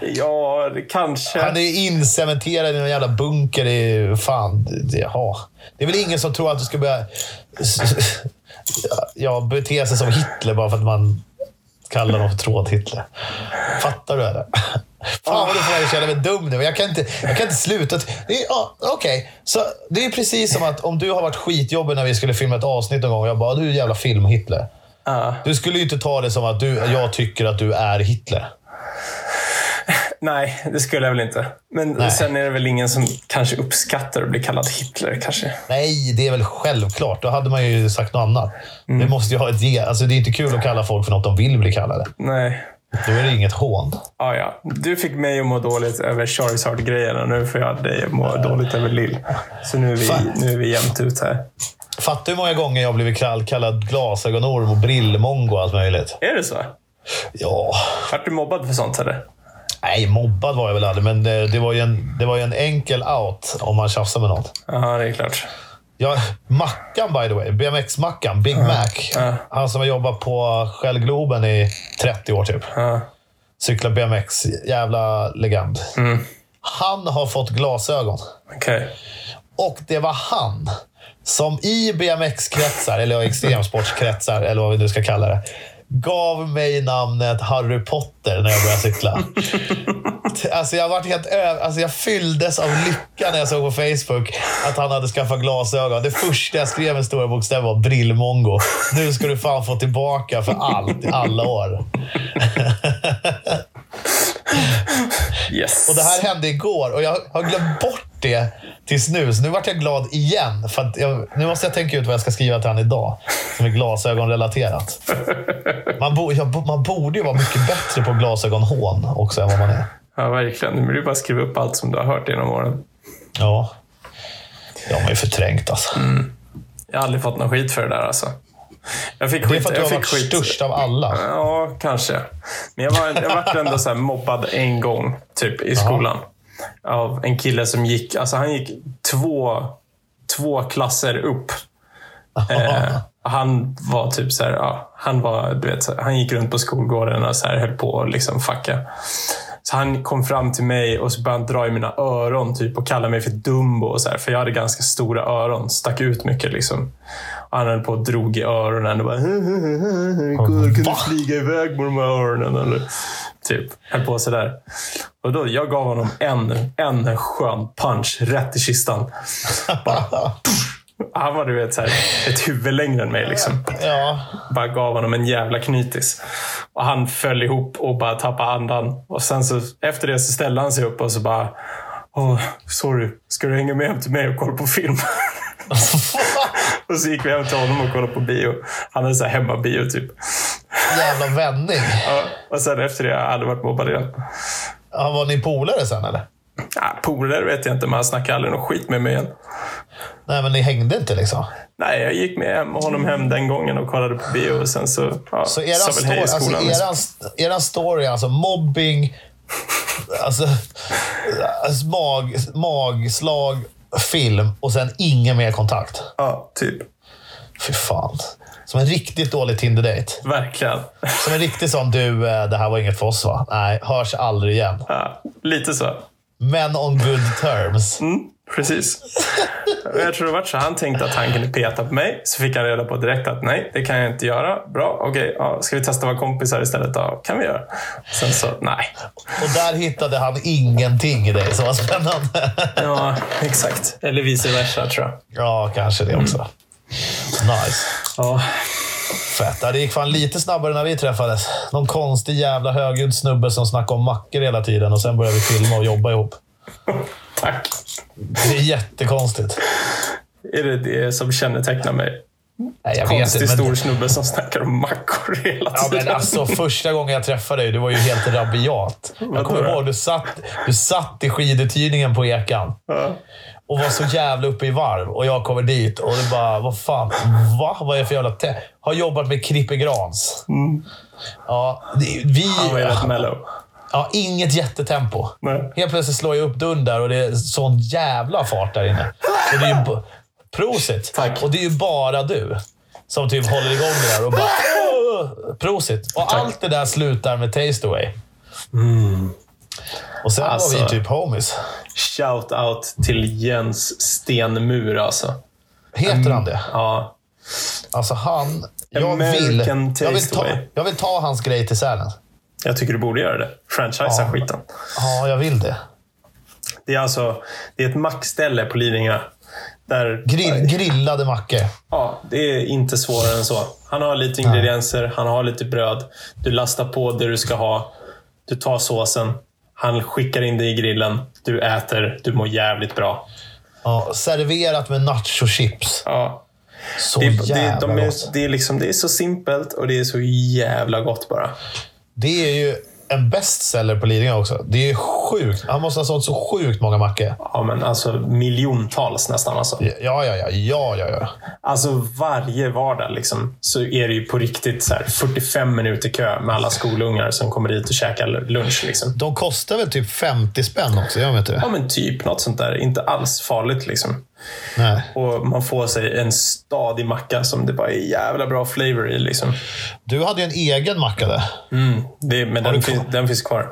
Speaker 2: Ja, det
Speaker 1: Han
Speaker 2: kanske.
Speaker 1: är ju incementerad i någon jävla bunker i... Fan, det, jaha. Det är väl ingen som tror att du ska börja ja, bete sig som Hitler bara för att man kallar dem för tråd-Hitler. Fattar du eller? Fan vad du får mig att känna mig dum nu. men Jag kan inte, jag kan inte sluta. Det är, ja, Okej, så det är precis som att om du har varit skitjobbig när vi skulle filma ett avsnitt någon gång och jag bara, du är jävla film-Hitler.
Speaker 2: Ja.
Speaker 1: Du skulle ju inte ta det som att du, jag tycker att du är Hitler.
Speaker 2: Nej, det skulle jag väl inte. Men sen är det väl ingen som kanske uppskattar att bli kallad Hitler kanske.
Speaker 1: Nej, det är väl självklart. Då hade man ju sagt något annat.
Speaker 2: Mm.
Speaker 1: Det måste ju ha ett ge. Alltså, det är inte kul att kalla folk för något de vill bli kallade.
Speaker 2: Nej.
Speaker 1: Då är det inget hån.
Speaker 2: Ah, ja. Du fifick mig att må dåligt över Charizard-grejerna. Nu får jag dig att må dåligt över Lill. Så nu är vi,
Speaker 1: Fan.
Speaker 2: nu är vi jämnt ut här.
Speaker 1: Fattar hur många gånger jag har blivit kall- kallad glasögonorm och brillmongo och allt möjligt.
Speaker 2: Är det så?
Speaker 1: Ja,
Speaker 2: Vart du mobbad för sånt eller?
Speaker 1: nej, mobbad var jag väl aldrig, men eh, det, det, var, ju en, det var ju en enkel out om man tjafsar med någon.
Speaker 2: Ja, det är klart.
Speaker 1: Ja, Mackan by the way, BMX-Mackan, Big Mac.
Speaker 2: Ja.
Speaker 1: Han som har jobbat på Shellgloben i 30 år typ.
Speaker 2: Ja.
Speaker 1: Cyklar BMX, jävla legend.
Speaker 2: Mm.
Speaker 1: Han har fått glasögon.
Speaker 2: Okej.
Speaker 1: Och det var han som i BMX-kretsar, eller extremsportskretsar, eller vad vi nu ska kalla det, gav mig namnet Harry Potter när jag började cykla. T- alltså jag, varit helt ö- alltså jag fylldes av lycka när jag såg på Facebook att han hade skaffat glasögon. Det första jag skrev med stora bokstäver var brillmongo. Nu ska du fan få tillbaka för allt i alla år.
Speaker 2: Yes.
Speaker 1: Och det här hände igår och jag har glömt bort det tills nu. Så nu vart jag glad igen. För att jag, nu måste jag tänka ut vad jag ska skriva till han idag. Som är glasögonrelaterat. Man, bo, jag, bo- man borde ju vara mycket bättre på glasögonhån också än vad man är.
Speaker 2: Ja, verkligen. Nu vill du bara skriva upp allt som du har hört genom åren.
Speaker 1: Ja. De är ju förträngt alltså.
Speaker 2: Mm, Jag har aldrig fått någon skit för det där alltså. Jag fick skit.
Speaker 1: Det är för att du
Speaker 2: jag
Speaker 1: har
Speaker 2: fick
Speaker 1: varit
Speaker 2: skit.
Speaker 1: störst av alla.
Speaker 2: Ja, kanske. Men jag var, jag var ändå så här mobbad en gång typ i skolan. Av en kille som gick, alltså han gick två, två klasser upp. Eh, han var typ så här, ja, han var, du vet, så här, han gick runt på skolgården och så här, höll på och liksom fucka. Så han kom fram till mig och så började han dra i mina öron typ, och kalla mig för Dumbo. Och så här, för jag hade ganska stora öron, stack ut mycket. Liksom. Och han höll på och drog i öronen och bara Kolla, kan du flyga iväg med de här öronen? Eller, typ, höll på sådär. Och då, jag gav honom en, en skön punch rätt i kistan. Bara, han var Ah, du vet, så här, ett huvud längre än mig. Liksom
Speaker 1: Ja.
Speaker 2: bara gav honom en jävla knytis. Och han föll ihop och bara tappade andan. Och sen så, efter det så ställde han sig upp och så bara Åh, sorry. Ska du hänga med hem till mig och kolla på film? och så gick vi hem till honom och kollade på bio. Han hade så här hemmabio typ.
Speaker 1: Jävla vändning.
Speaker 2: Ja, Och sen efter det har jag aldrig varit mobbad igen.
Speaker 1: Ja, var ni polare sen eller?
Speaker 2: Ja, Polare vet jag inte, men han snackade aldrig något skit med mig igen.
Speaker 1: Nej, men ni hängde inte liksom.
Speaker 2: Nej, jag gick med hem, honom hem den gången och kollade på bio. Och sen så, ja,
Speaker 1: Så eran,
Speaker 2: sa väl
Speaker 1: story,
Speaker 2: hej i
Speaker 1: alltså,
Speaker 2: skolan.
Speaker 1: eran, eran story är alltså mobbing, alltså, alltså mag, magslag, film och sen ingen mer kontakt.
Speaker 2: Ja, typ.
Speaker 1: Fy fan. Som en riktigt dålig Tinder-date.
Speaker 2: Verkligen.
Speaker 1: Som en riktig sån, du, eh, det här var inget för oss va? Nej, hörs aldrig igen.
Speaker 2: Ja, lite så. Mm,
Speaker 1: Men on good terms.
Speaker 2: Precis. Och Jag tror det var så. Han tänkte att han kunde peta på mig. Så fick han reda på direkt att nej, det kan jag inte göra. Bra, okej. ja, ska vi testa att vara kompisar istället? Ja, kan vi göra. Sen så, nej.
Speaker 1: Och där hittade han ingenting i dig som var spännande.
Speaker 2: Ja, exakt. Eller vice versa, tror jag.
Speaker 1: Ja, kanske det också. Nice.
Speaker 2: Ja,
Speaker 1: Fett. Ja, det gick fan lite snabbare när vi träffades. Någon konstig jävla högljudd snubbe som snackade om mackor hela tiden och sen började vi filma och jobba ihop.
Speaker 2: tack.
Speaker 1: Det är jättekonstigt.
Speaker 2: Är det det som kännetecknar mig?
Speaker 1: Nej, jag
Speaker 2: Konstig
Speaker 1: vet inte.
Speaker 2: stor
Speaker 1: Men,
Speaker 2: snubbe som snackar om mackor hela
Speaker 1: ja,
Speaker 2: tiden.
Speaker 1: men alltså, första gången jag träffade dig, du var ju helt rabiat. Jag
Speaker 2: Vadå
Speaker 1: kommer
Speaker 2: då?
Speaker 1: ihåg, du satt, du satt i skiduthyrningen på Ekan
Speaker 2: Ja.
Speaker 1: och var så jävla uppe i varv. Och jag kommer dit och det bara, vad fan, va? Vad är det för jävla te? Har jobbat med Krippe Grans.
Speaker 2: Mm.
Speaker 1: Ja, det- vi...
Speaker 2: Han var ju rätt mellow.
Speaker 1: Ja, inget jättetempo.
Speaker 2: Nej.
Speaker 1: Helt plötsligt slår jag upp dörren där och det är sån jävla fart där inne. Och det är ju b- Prosit!
Speaker 2: Tack.
Speaker 1: Och det är ju bara du som typ håller igång det där och bara... "Åh!" Prosit! Och allt det där slutar med Taste Away. Och sen
Speaker 2: Mm. Alltså.
Speaker 1: var vi typ homies.
Speaker 2: Shout out till Jens Stenmur alltså.
Speaker 1: Heter han det?
Speaker 2: Ja,
Speaker 1: Alltså han... Jag vill,
Speaker 2: Mm. American
Speaker 1: jag, vill
Speaker 2: Taste
Speaker 1: ta,
Speaker 2: Away.
Speaker 1: jag vill ta hans grej till Sälen.
Speaker 2: jag tycker du borde göra det. Franchisea
Speaker 1: Ja.
Speaker 2: skiten.
Speaker 1: Ja, jag vill det.
Speaker 2: Det är alltså det är ett mackställe på Lidingö. Där,
Speaker 1: Grill, grillade mackor.
Speaker 2: ja, det är inte svårare än så. Han har lite ingredienser, han har lite bröd. Du lastar på det du ska ha. Du tar såsen. Han skickar in det i grillen. Du äter. Du mår jävligt bra.
Speaker 1: Ja, serverat med nachochips.
Speaker 2: Ja.
Speaker 1: Så
Speaker 2: Det, det,
Speaker 1: jävla
Speaker 2: de
Speaker 1: gott.
Speaker 2: är, det, är liksom, det är så simpelt och det är så jävla gott bara.
Speaker 1: Det är ju en bestseller på Lidingö också. Det är sjukt. Han måste ha sålt så sjukt många mackor.
Speaker 2: Ja, men alltså miljontals nästan. Alltså.
Speaker 1: Ja, ja, ja. ja, ja, ja.
Speaker 2: Alltså varje vardag liksom, så är det ju på riktigt så här 45 minuter kö med alla skolungar som kommer dit och käkar lunch. Liksom.
Speaker 1: De kostar väl typ 50 spänn också? Jag vet inte.
Speaker 2: Ja men typ något sånt där. Inte alls farligt liksom.
Speaker 1: Nej.
Speaker 2: Och man får sig en stadig macka som det bara är jävla bra flavor i. Liksom. Mm,
Speaker 1: Du hade ju en egen macka där.
Speaker 2: Det, men den,
Speaker 1: du
Speaker 2: fin, den finns kvar.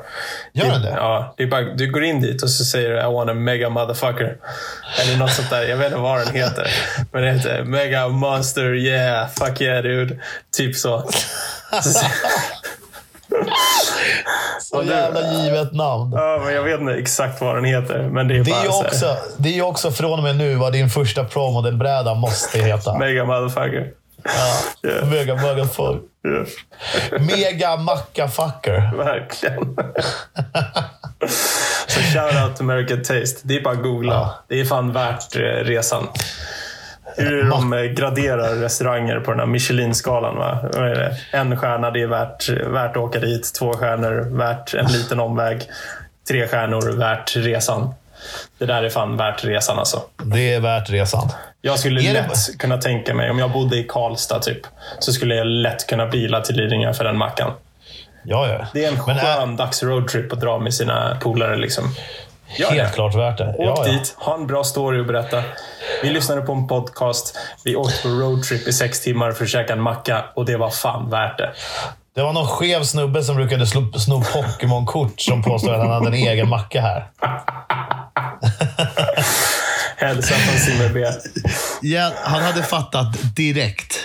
Speaker 1: Gör den
Speaker 2: det?
Speaker 1: det?
Speaker 2: Ja, det är bara, du går in dit och så säger du I want a mega motherfucker. Eller något sånt där. Jag vet inte vad den heter. Men det heter Mega monster yeah, fuck yeah dude. Typ så.
Speaker 1: Så jävla givet namn.
Speaker 2: Ja, men jag vet inte exakt vad den heter, men det är
Speaker 1: Det
Speaker 2: bara
Speaker 1: är ju
Speaker 2: så här,
Speaker 1: också, det är ju också från och med nu vad din första promodelbräda måste heta.
Speaker 2: Mega motherfucker.
Speaker 1: Ja. Mega mugga fuck.
Speaker 2: Ja,
Speaker 1: Mega macka fucker.
Speaker 2: verkligen. så shoutout to American Taste. Det är bara att googla.
Speaker 1: Ja.
Speaker 2: Det är fan värt eh, resan. Hur de eh, graderar restauranger på den här Michelin-skalan. Va? Vad är det? En stjärna, det är värt, värt att åka dit. Två stjärnor, värt en liten omväg. Tre stjärnor, värt resan. Det där är fan värt resan alltså.
Speaker 1: Det är värt resan.
Speaker 2: Jag skulle
Speaker 1: Är det-
Speaker 2: lätt kunna tänka mig, om jag bodde i Karlstad typ, så skulle jag lätt kunna bila till Lidingö för den mackan.
Speaker 1: Ja, ja.
Speaker 2: Det är en
Speaker 1: Men
Speaker 2: skön dags roadtrip att dra med sina polare. Liksom. Gör det.
Speaker 1: helt klart värt det.
Speaker 2: Åk
Speaker 1: Ja, ja.
Speaker 2: dit, ha en bra story att berätta. Vi lyssnade på en podcast, vi åkte på roadtrip i sex timmar för att käka en macka och det var fan värt det.
Speaker 1: Det var någon skev snubbe som brukade sno, sno Pokémon-kort som påstod att han hade en egen macka här.
Speaker 2: Hälsa från Simmer B.
Speaker 1: Ja, han hade fattat direkt.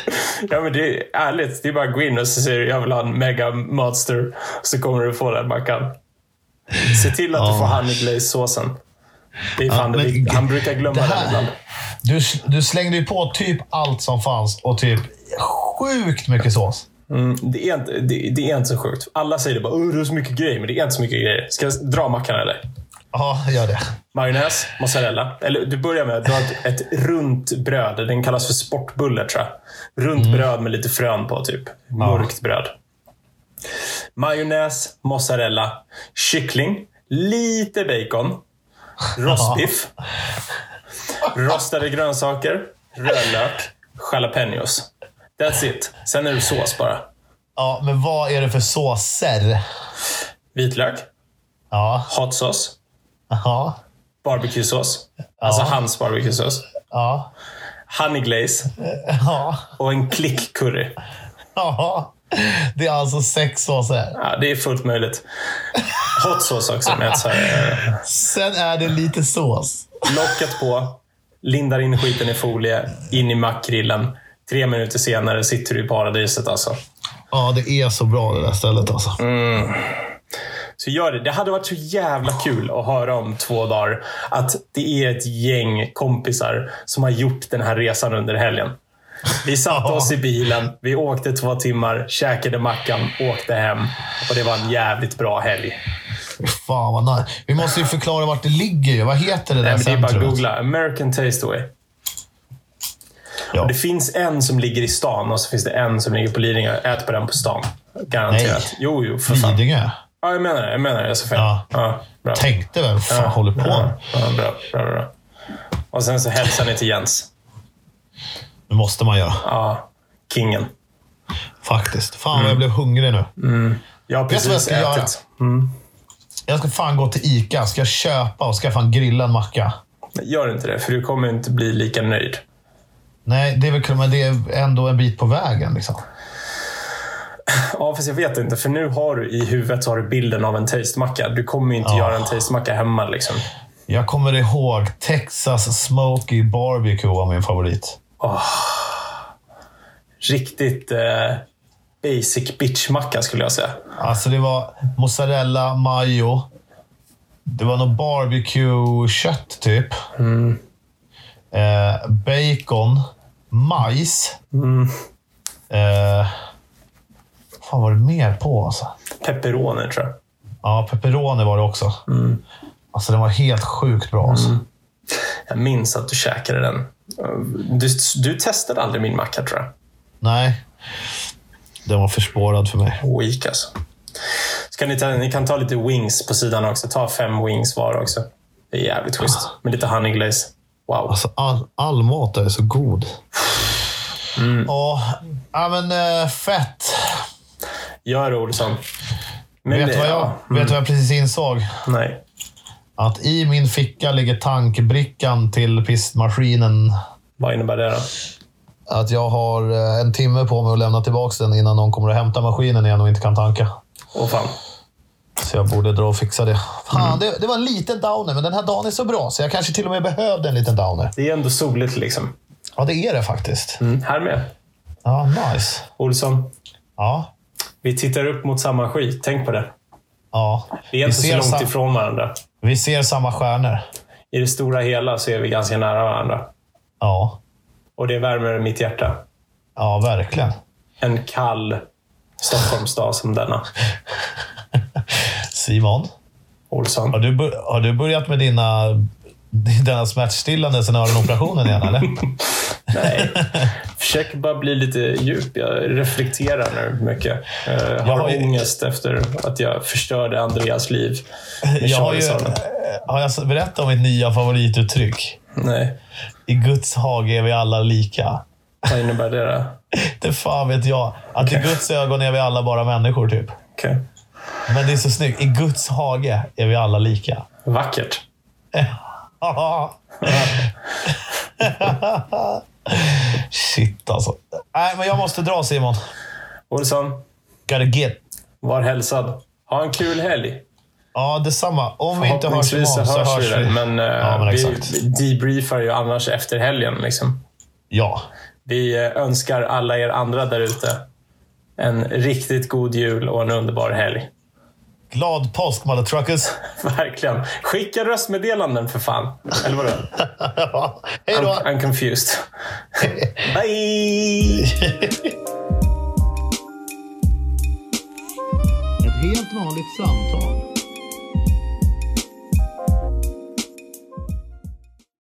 Speaker 2: Ja, men det är ärligt, det är bara att gå in och så säger du jag vill ha en mega monster så kommer du få den mackan. Se till att du får honey glaze såsen. Det är fan det
Speaker 1: men
Speaker 2: viktiga. Han
Speaker 1: g-
Speaker 2: brukar glömma
Speaker 1: det här-
Speaker 2: den ibland.
Speaker 1: Du, du slängde ju på typ allt som fanns och typ sjukt mycket sås.
Speaker 2: Mm, det, är inte, det, det är inte så sjukt. Alla säger det bara "Åh, det är så mycket grejer, men det är inte så mycket grejer. Ska jag dra mackan eller?
Speaker 1: Ja, gör det.
Speaker 2: Majonnäs, mozzarella. Eller du börjar med att du har ett, ett runt bröd. Den kallas för sportbulle tror jag. Runt bröd med lite frön på typ. Mörkt bröd. Majonnäs, mozzarella, kyckling, lite bacon, rostbiff, rostade grönsaker, rödlök, jalapenos. That's it. Sen är det sås bara.
Speaker 1: Ja, men vad är det för såser?
Speaker 2: Vitlök,
Speaker 1: Ja,
Speaker 2: hot sauce,
Speaker 1: ja,
Speaker 2: barbecuesås. Alltså hans barbecuesås.
Speaker 1: ja,
Speaker 2: Honey glaze.
Speaker 1: ja,
Speaker 2: och en klick curry.
Speaker 1: ja. Det är alltså sex såser.
Speaker 2: Ja, det är fullt möjligt. Hot sauce också med ett så här, eh,
Speaker 1: Sen är det lite sås.
Speaker 2: locket på, lindar in skiten i folie, in i mackgrillen. Tre minuter senare sitter du i paradiset alltså.
Speaker 1: Ja, det är så bra det där stället alltså.
Speaker 2: Mm. Så gör det. Det hade varit så jävla kul att höra om två dagar att det är ett gäng kompisar som har gjort den här resan under helgen. Vi satte oss i bilen, vi åkte två timmar, käkade mackan, åkte hem och det var en jävligt bra helg.
Speaker 1: Fan vad nice. Vi måste ju förklara vart det ligger. ju. Vad heter det där
Speaker 2: Nej, men det är bara att
Speaker 1: centrumet?
Speaker 2: googla. American Tasteway.
Speaker 1: Ja.
Speaker 2: Och det finns en som ligger i stan och så finns det en som ligger på Lidingö. Ät på den på stan. Garanterat.
Speaker 1: Nej.
Speaker 2: Jo, jo, för fan.
Speaker 1: Lidingö.
Speaker 2: Ja, jag menar det. Jag menar det. Jag sa fel.
Speaker 1: Ja.
Speaker 2: Ja. bra.
Speaker 1: Tänkte väl, fan håller på
Speaker 2: ja,
Speaker 1: med?
Speaker 2: ja, bra, bra, bra. Och sen så hälsar ni till Jens.
Speaker 1: Det måste man göra.
Speaker 2: Ja, kingen.
Speaker 1: Faktiskt. Fan vad jag blev hungrig nu.
Speaker 2: Jag
Speaker 1: du vad
Speaker 2: har
Speaker 1: jag
Speaker 2: precis
Speaker 1: ska göra?
Speaker 2: ätit.
Speaker 1: Jag ska fan gå till Ica, ska köpa och ska fan grilla en macka.
Speaker 2: Gör inte det, för du kommer inte bli lika nöjd.
Speaker 1: Nej, det är väl kul, men det är ändå en bit på vägen. Liksom.
Speaker 2: Ja, fast jag vet inte. För nu har du i huvudet så har du bilden av en tastemacka. Du kommer ju inte göra en tastemacka hemma. Liksom.
Speaker 1: Jag kommer ihåg Texas Smoky Barbecue var min favorit.
Speaker 2: riktigt eh, basic bitchmacka skulle jag säga.
Speaker 1: Alltså det var mozzarella, majo. Det var något barbecue-kött typ. Eh, bacon, majs. Eh, fan var det mer på alltså?
Speaker 2: Pepperoner tror jag.
Speaker 1: Ja, pepperoni var det också. Alltså den var helt sjukt bra. Alltså.
Speaker 2: Jag minns att du käkade den. Eh, Du, du testade aldrig min macka tror jag.
Speaker 1: Nej, den var förspårad för mig.
Speaker 2: Weak alltså. Så kan ni, ta, ni kan ta lite wings på sidan också. Ta fem wings var också. Det är jävligt schysst.
Speaker 1: Ah.
Speaker 2: Med lite honey glaze. Wow.
Speaker 1: Alltså all, all mat där är så god. Ja, ja, men eh, fett.
Speaker 2: Gör det Olsson. Men
Speaker 1: Vet du
Speaker 2: det-
Speaker 1: vad jag,
Speaker 2: ja, Mm.
Speaker 1: vet du vad jag precis insåg?
Speaker 2: Nej.
Speaker 1: Att i min ficka ligger tankbrickan till pistmaskinen.
Speaker 2: Vad innebär det då?
Speaker 1: Att jag har eh, en timme på mig att lämna tillbaka den innan någon kommer och hämtar maskinen igen och inte kan tanka.
Speaker 2: Åh fan.
Speaker 1: Så jag borde dra och fixa det. Fan,
Speaker 2: Mm.
Speaker 1: det, det var en liten downer, men den här dagen är så bra så jag kanske till och med behövde en liten downer.
Speaker 2: Det är ändå soligt liksom.
Speaker 1: Ja, det är det faktiskt.
Speaker 2: Mm. Här med.
Speaker 1: Ja, nice.
Speaker 2: Olsson.
Speaker 1: Ja,
Speaker 2: Vi tittar upp mot samma skit. Tänk på det.
Speaker 1: Ja.
Speaker 2: Vi är inte så
Speaker 1: ser
Speaker 2: långt
Speaker 1: sam-
Speaker 2: ifrån varandra.
Speaker 1: Vi ser samma stjärnor.
Speaker 2: I det stora hela så är vi ganska nära varandra.
Speaker 1: Ja,
Speaker 2: Och det värmer mitt hjärta.
Speaker 1: ja verkligen.
Speaker 2: En kall Stockholmsdag som denna.
Speaker 1: Simon,
Speaker 2: Olsson.
Speaker 1: har du, bör- har du börjat med dina, dina smärtstillande sen öronoperationen igen, eller?
Speaker 2: Nej. Försöker bara bli lite djup. Jag reflekterar nu mycket. Jag har,
Speaker 1: Jag har ju-
Speaker 2: ångest efter att jag förstörde Andreas liv. med
Speaker 1: Jag har, ju, eh,
Speaker 2: Charlesson.
Speaker 1: har jag berättat om mitt nya favorituttryck?
Speaker 2: Nej,
Speaker 1: I Guds hage är vi alla lika.
Speaker 2: vad innebär det då?
Speaker 1: Det fan vet jag. Att i Guds ögon är vi alla bara människor, typ.
Speaker 2: Okej.
Speaker 1: Men det är så snyggt. I Guds hage är vi alla lika.
Speaker 2: Vackert.
Speaker 1: Shit alltså. Nej, men jag måste dra Simon.
Speaker 2: Olsson,
Speaker 1: Gotta get.
Speaker 2: var hälsad. Ha en kul helg.
Speaker 1: Ja, detsamma. Om vi inte hörs imorgon
Speaker 2: Förhoppningsvis
Speaker 1: så hörs, vi.
Speaker 2: där, Men, eh,
Speaker 1: Ja, men
Speaker 2: vi
Speaker 1: exakt.
Speaker 2: debriefar ju annars efter helgen. Liksom.
Speaker 1: Ja.
Speaker 2: Vi eh, önskar alla er andra där ute en riktigt god jul och en underbar helg.
Speaker 1: Glad påsk, mother truckers.
Speaker 2: Verkligen. Skicka röstmeddelanden för fan. Eller vadå?
Speaker 1: Hej då!
Speaker 2: I'm, I'm confused. Bye!
Speaker 3: Ett helt vanligt samtal